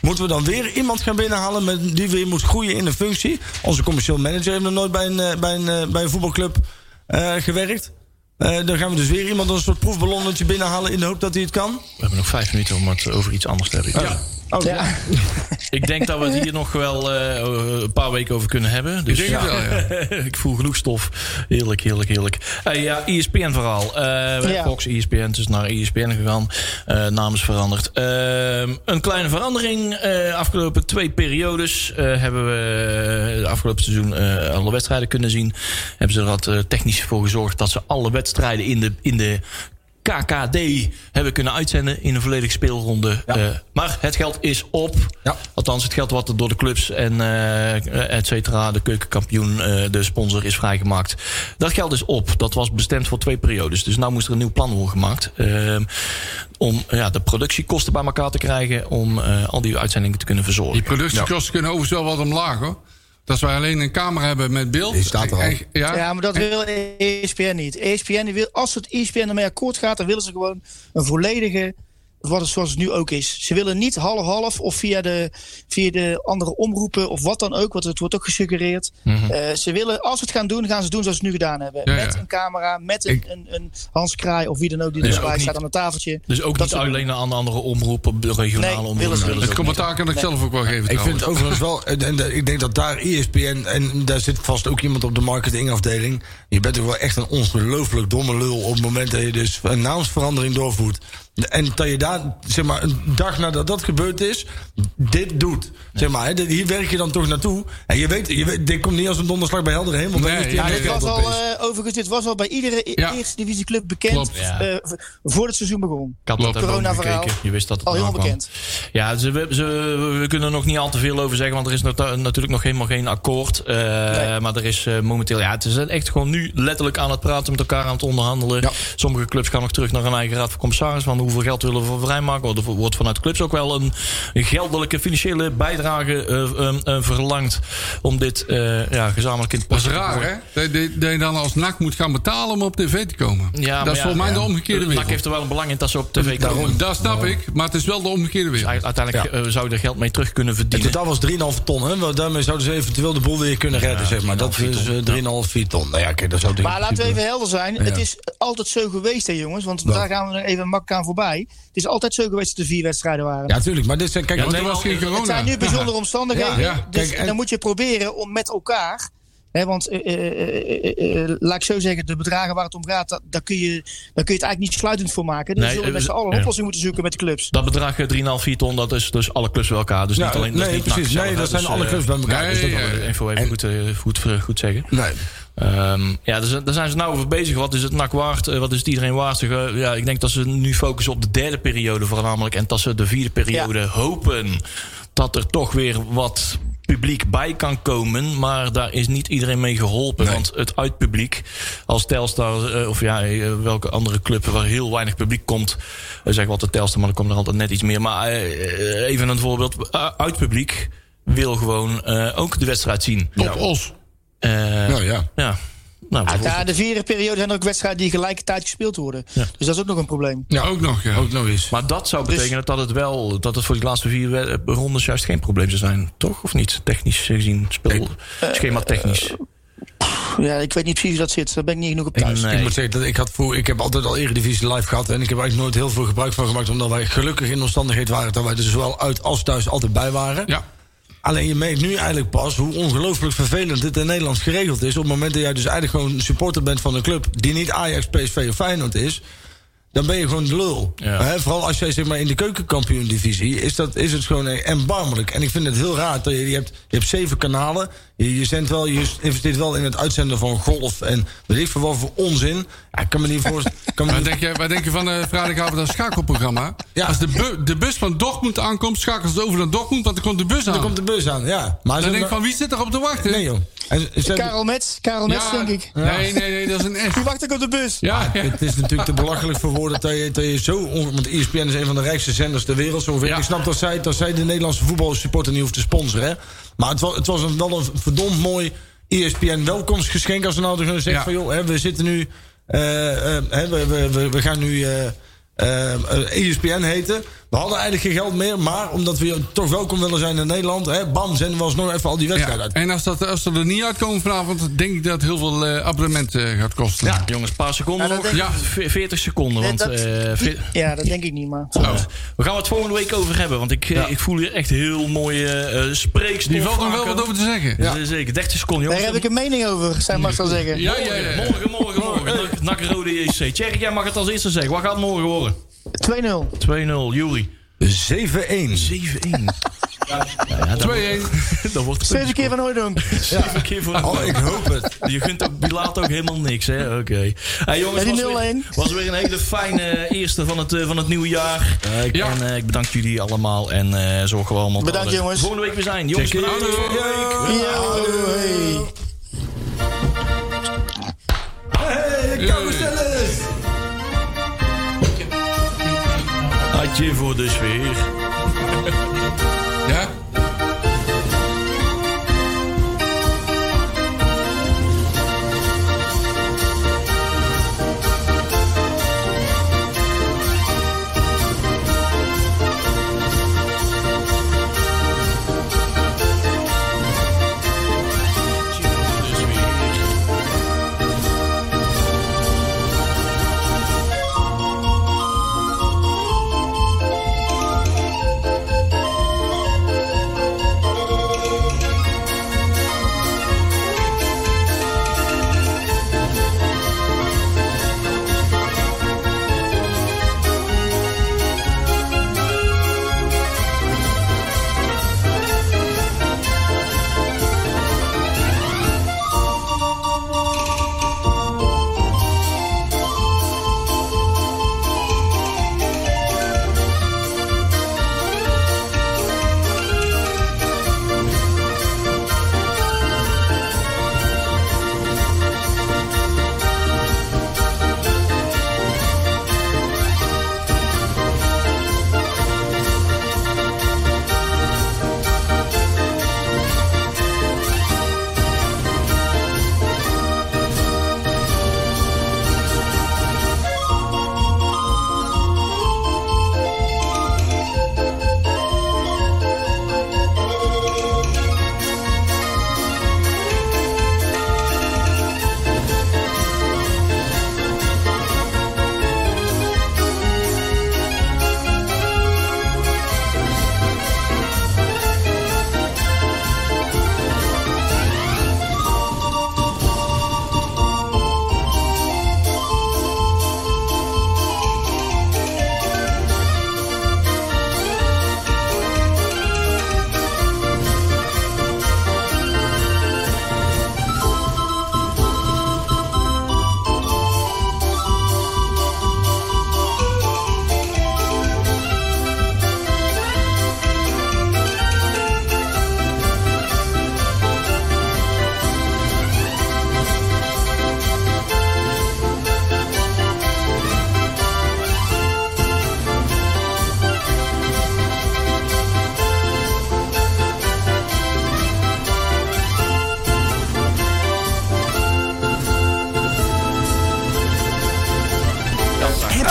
Moeten we dan weer iemand gaan binnenhalen met, die weer moet groeien in een functie? Onze commercieel manager heeft nog nooit bij een, eh, bij een, eh, bij een voetbalclub eh, gewerkt. Eh, dan gaan we dus weer iemand als een soort proefballonnetje binnenhalen... in de hoop dat hij het kan.
We hebben nog vijf minuten om het over iets anders te hebben.
Oh, ja.
Ik denk dat we het hier nog wel eh, een paar weken over kunnen hebben. Dus
Ik denk het wel, ja.
ik voel genoeg stof. Heerlijk, heerlijk, heerlijk. Hey, ja, E ESPN-verhaal. Eh
Ja.
Fox ESPN, dus naar ESPN gegaan. Eh namens veranderd. Ehm, een kleine verandering. Eh, afgelopen twee periodes eh, hebben we de afgelopen seizoen eh, alle wedstrijden kunnen zien. Hebben ze er wat eh, technisch voor gezorgd dat ze alle wedstrijden in de, in de KKD hebben kunnen uitzenden in een volledige speelronde. Eh, maar het geld is op.
Ja.
Althans, het geld wat er door de clubs en eh, et cetera, de keukenkampioen, eh, de sponsor is vrijgemaakt. Dat geld is op. Dat was bestemd voor twee periodes. Dus nu moest er een nieuw plan worden gemaakt. ehm, om ja, de productiekosten bij elkaar te krijgen. Om eh, al die uitzendingen te kunnen verzorgen.
Die productiekosten kunnen overigens wel wat omlaag hoor. Dat wij alleen een camera hebben met beeld.
Die staat er al.
En- Ja,
Ja, maar dat wil E ESPN niet. ESPN wil, als het ESPN ermee akkoord gaat, dan willen ze gewoon een volledige wat het, zoals het nu ook is. Ze willen niet half-half of via de, via de andere omroepen of wat dan ook, want het wordt ook gesuggereerd.
Mhm.
Eh, ze willen, als ze het gaan doen, gaan ze het doen zoals ze het nu gedaan hebben.
Ja, ja.
met een camera, met een, een, een Hans Kraai of wie dan ook die
Dus
erbij
ook
staat
niet-
aan een tafeltje.
Dus ook
Dat
niet
soort-
alleen naar andere andere omroepen, de regionale
Nee,
omroepen.
willen ze
willen
niet.
ze
Het
ook niet.
commentaar kan ik zelf ook wel geven.
Ik vind
trouwens.
Nou,
het overigens wel, en, en ik denk dat daar E ESPN, en daar zit vast ook iemand op de marketingafdeling. Je bent toch wel echt een ongelooflijk domme lul op het moment dat je dus een naamsverandering doorvoert. En dat je daar, zeg maar, een dag nadat dat gebeurd is, dit doet. Zeg maar, hè, dit- hier werk je dan toch naartoe. En je weet, je weet dit komt niet als een donderslag bij helder heen, want dan
Nee,
is die
ja,
NL
Dit
ja,
was
op
al,
is.
eh, overigens, dit was al bij iedere e-
Ja.
eerste divisieclub bekend
Klopt.
Ja.
eh, v- voor het seizoen
Ik
begon.
had dat
Klopt.
daarboven
Corona-verhaal.
gekeken. Je wist dat het
Al Oh, heel
eraan kwam.
bekend.
Ja, ze, we, ze, we kunnen er nog niet al te veel over zeggen, want er is nota- natuurlijk nog helemaal geen akkoord. Eh, Maar er is eh, momenteel, ja, ze zijn echt gewoon nu letterlijk aan het praten met elkaar, aan het onderhandelen. Sommige clubs gaan nog terug naar een eigen raad van commissaris van hoeveel geld willen we voor vrijmaken. Want Er wordt vanuit clubs ook wel een geldelijke financiële bijdrage eh, ehm, eh, verlangd om dit eh, ja, gezamenlijk in het
Dat is
te
raar,
gooien.
hè? Dat je- dat je dan als NAC moet gaan betalen om op tv te komen.
Ja, maar
dat is
ja,
volgens mij
ja.
de omgekeerde
NAC
wereld.
heeft er wel een belang in dat ze op tv komen.
Daarom, dat snap ik, maar het is wel de omgekeerde wereld.
Uiteindelijk eh, zou je er geld mee terug kunnen
In
verdienen.
totaal was 3,5 ton, hè? want Daarmee zouden ze eventueel de boel weer kunnen redden, zeg maar. Dat is eh, 3,5, 4 ton. Nou ja, kijk, dat zou
Maar laten we even helder zijn. Het is altijd zo geweest, hè jongens. Want daar gaan we nog even makkelijk aan voorbij. Het is altijd zo geweest dat er vier wedstrijden waren.
Ja, tuurlijk, maar dit zijn, kijk,
Ja,
want-
toen was geen corona.
Het zijn nu bijzondere omstandigheden.
Ja, ja.
Dus
Kijk, en-
dan moet je proberen om met elkaar. Hè, want eh, eh, eh, eh, eh, laat ik zo zeggen, de bedragen waar het om gaat, da- daar kun je, daar kun je het eigenlijk niet sluitend voor maken. Dan
Nee,
zullen we
eh,
met z'n allen een
ja.
oplossing moeten zoeken met de clubs.
Dat bedrag eh, 3,5, 4 ton, dat is dus alle clubs bij elkaar. Dus niet alleen dat is
Nou, nee,
niet
precies.
NAC zelf,
nee,
hè.
dat zijn
Dus,
alle
eh,
clubs bij elkaar.
nee,
dus dat-
ja,
eh, Even, even goed, eh, goed, eh, goed zeggen.
Nee.
Ehm, ja, daar zijn- daar zijn ze nou over bezig. Wat is het NAC waard? Eh, Wat is het iedereen waard? Eh, ja, ik denk dat ze nu focussen op de derde periode voornamelijk. En dat ze de vierde periode hopen dat er toch weer wat publiek bij kan komen. Maar daar is niet iedereen mee geholpen. Want het uitpubliek, als Telstar eh, of ja, eh, welke andere club waar heel weinig publiek komt. eh, zeg wat de Telstar, maar dan komt er altijd net iets meer. Maar eh, eh, even een voorbeeld. Eh, uitpubliek wil gewoon eh, ook de wedstrijd zien.
Top Os.
Eh,
Nou ja.
ja. Nou,
Ah,
bijvoorbeeld.
na de vierde periode zijn er ook wedstrijden die gelijkertijd gespeeld worden. Dus dat is ook nog een probleem.
ja. Ook nog, ja.
Ook nog eens.
maar dat zou betekenen dat het wel, dat het voor die laatste vier we- eh, rondes juist geen probleem zou zijn, toch? Of niet? Technisch gezien, speel, schema technisch.
Ja, ik weet niet precies hoe dat zit. Daar ben ik niet genoeg op thuis.
Ik moet zeggen, dat ik, had voor, ik heb altijd al Eredivisie live gehad. En ik heb eigenlijk nooit heel veel gebruik van gemaakt. Omdat wij gelukkig in de omstandigheid waren. Dat wij er zowel uit als thuis altijd bij waren.
Ja.
Alleen je merkt nu eigenlijk pas hoe ongelooflijk vervelend dit in Nederland geregeld is. Op het moment dat jij dus eigenlijk gewoon supporter bent van een club die niet Ajax, PSV of Feyenoord is. Dan ben je gewoon de lul.
Ja.
Hè, vooral als jij zeg maar in de keukenkampioen-divisie is, dat, is het gewoon eh, erbarmelijk. En ik vind het heel raar. Dat je, je, hebt, je hebt zeven kanalen. Je, je, zendt wel, je investeert wel in het uitzenden van golf en weet ik veel wat voor onzin. Ja, ik kan me niet voorstellen. kan me
Wat
niet-
denk, je, wat denk je van eh vrijdagavond dat schakelprogramma?
Ja.
Als de, bu- de bus van Dortmund aankomt, schakelen ze over naar Dortmund, want dan komt de bus aan.
Dan komt de bus aan, ja. Maar
dan
ze-
denk ik van, Eh, wie zit erop te wachten?
Nee, joh. En ze- ze-
Karel Mets, Karel Mets denk ik.
Nee, nee, nee, dat is een echt.
Die wacht ik op de bus.
Ja, ja.
Het is natuurlijk te belachelijk voor woorden dat je, dat je zo... onge- Want E ESPN is een van de rijkste zenders ter wereld. Zo ongeveer.
Ja.
Ik snap dat zij, dat zij de Nederlandse voetbalsupporter niet hoeft te sponsoren. Hè? Maar het was, het was een, wel een verdomd mooi E ESPN welkomstgeschenk. Als ze nou gewoon zeggen
Ja.
van... joh, hè, we zitten nu... eh, eh, hè, we, we, we, we gaan nu... eh, eh, eh, ESPN heten. We hadden eigenlijk geen geld meer, maar omdat we toch welkom willen zijn in Nederland, hè, bam, zenden we alsnog even al die wedstrijden
Ja.
uit.
En als, dat, als ze er niet uitkomen vanavond, denk ik dat het heel veel eh, abonnementen gaat kosten.
Ja, jongens, een paar seconden
Ja, dat
nog.
denk ik.
Ja, ve- 40 seconden.
Nee,
Want,
dat-
eh, ve-
Ja, dat denk ik niet, maar...
Oh. We gaan het volgende week over hebben, want ik, eh, ik voel hier echt heel mooie eh spreekstof.
Die valt nog wel
aankomen.
wat over te zeggen.
Ja, Zeker, 30 seconden,
Daar
jongens.
heb ik een mening over, zou mag wel zeggen.
Ja, ja, ja. ja.
Morgen, morgen, morgen. Nak- Nak Rode JC. Thierry, jij mag het als eerste zeggen. Wat gaat het morgen worden? 2-0,
2-0.
Jury.
7-1.
7-1. Ja, dat,
2-1.
wordt- dat wordt
Zeven keer van Hooydonk.
Zeven keer voor
Oh, ik hoop het.
Je gunt ook, die laat ook helemaal niks, hè? Oké. Hey, jongens,
Ja,
was
die
weer,
0-1.
was weer een hele fijne eerste van het, eh, van het nieuwe jaar.
Ja.
En eh, ik bedank jullie allemaal en eh, zorg gewoon allemaal.
Bedankt,
dat we
jongens.
Volgende week weer zijn. Jongens, bedankt.
Ja, doei.
Adje voor de sfeer.
Ja?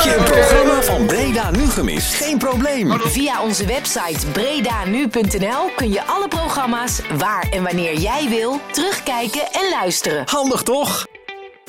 je een programma van Breda nu gemist? Geen probleem.
Via onze website bredanu.nl kun je alle programma's waar en wanneer jij wil terugkijken en luisteren.
Handig toch?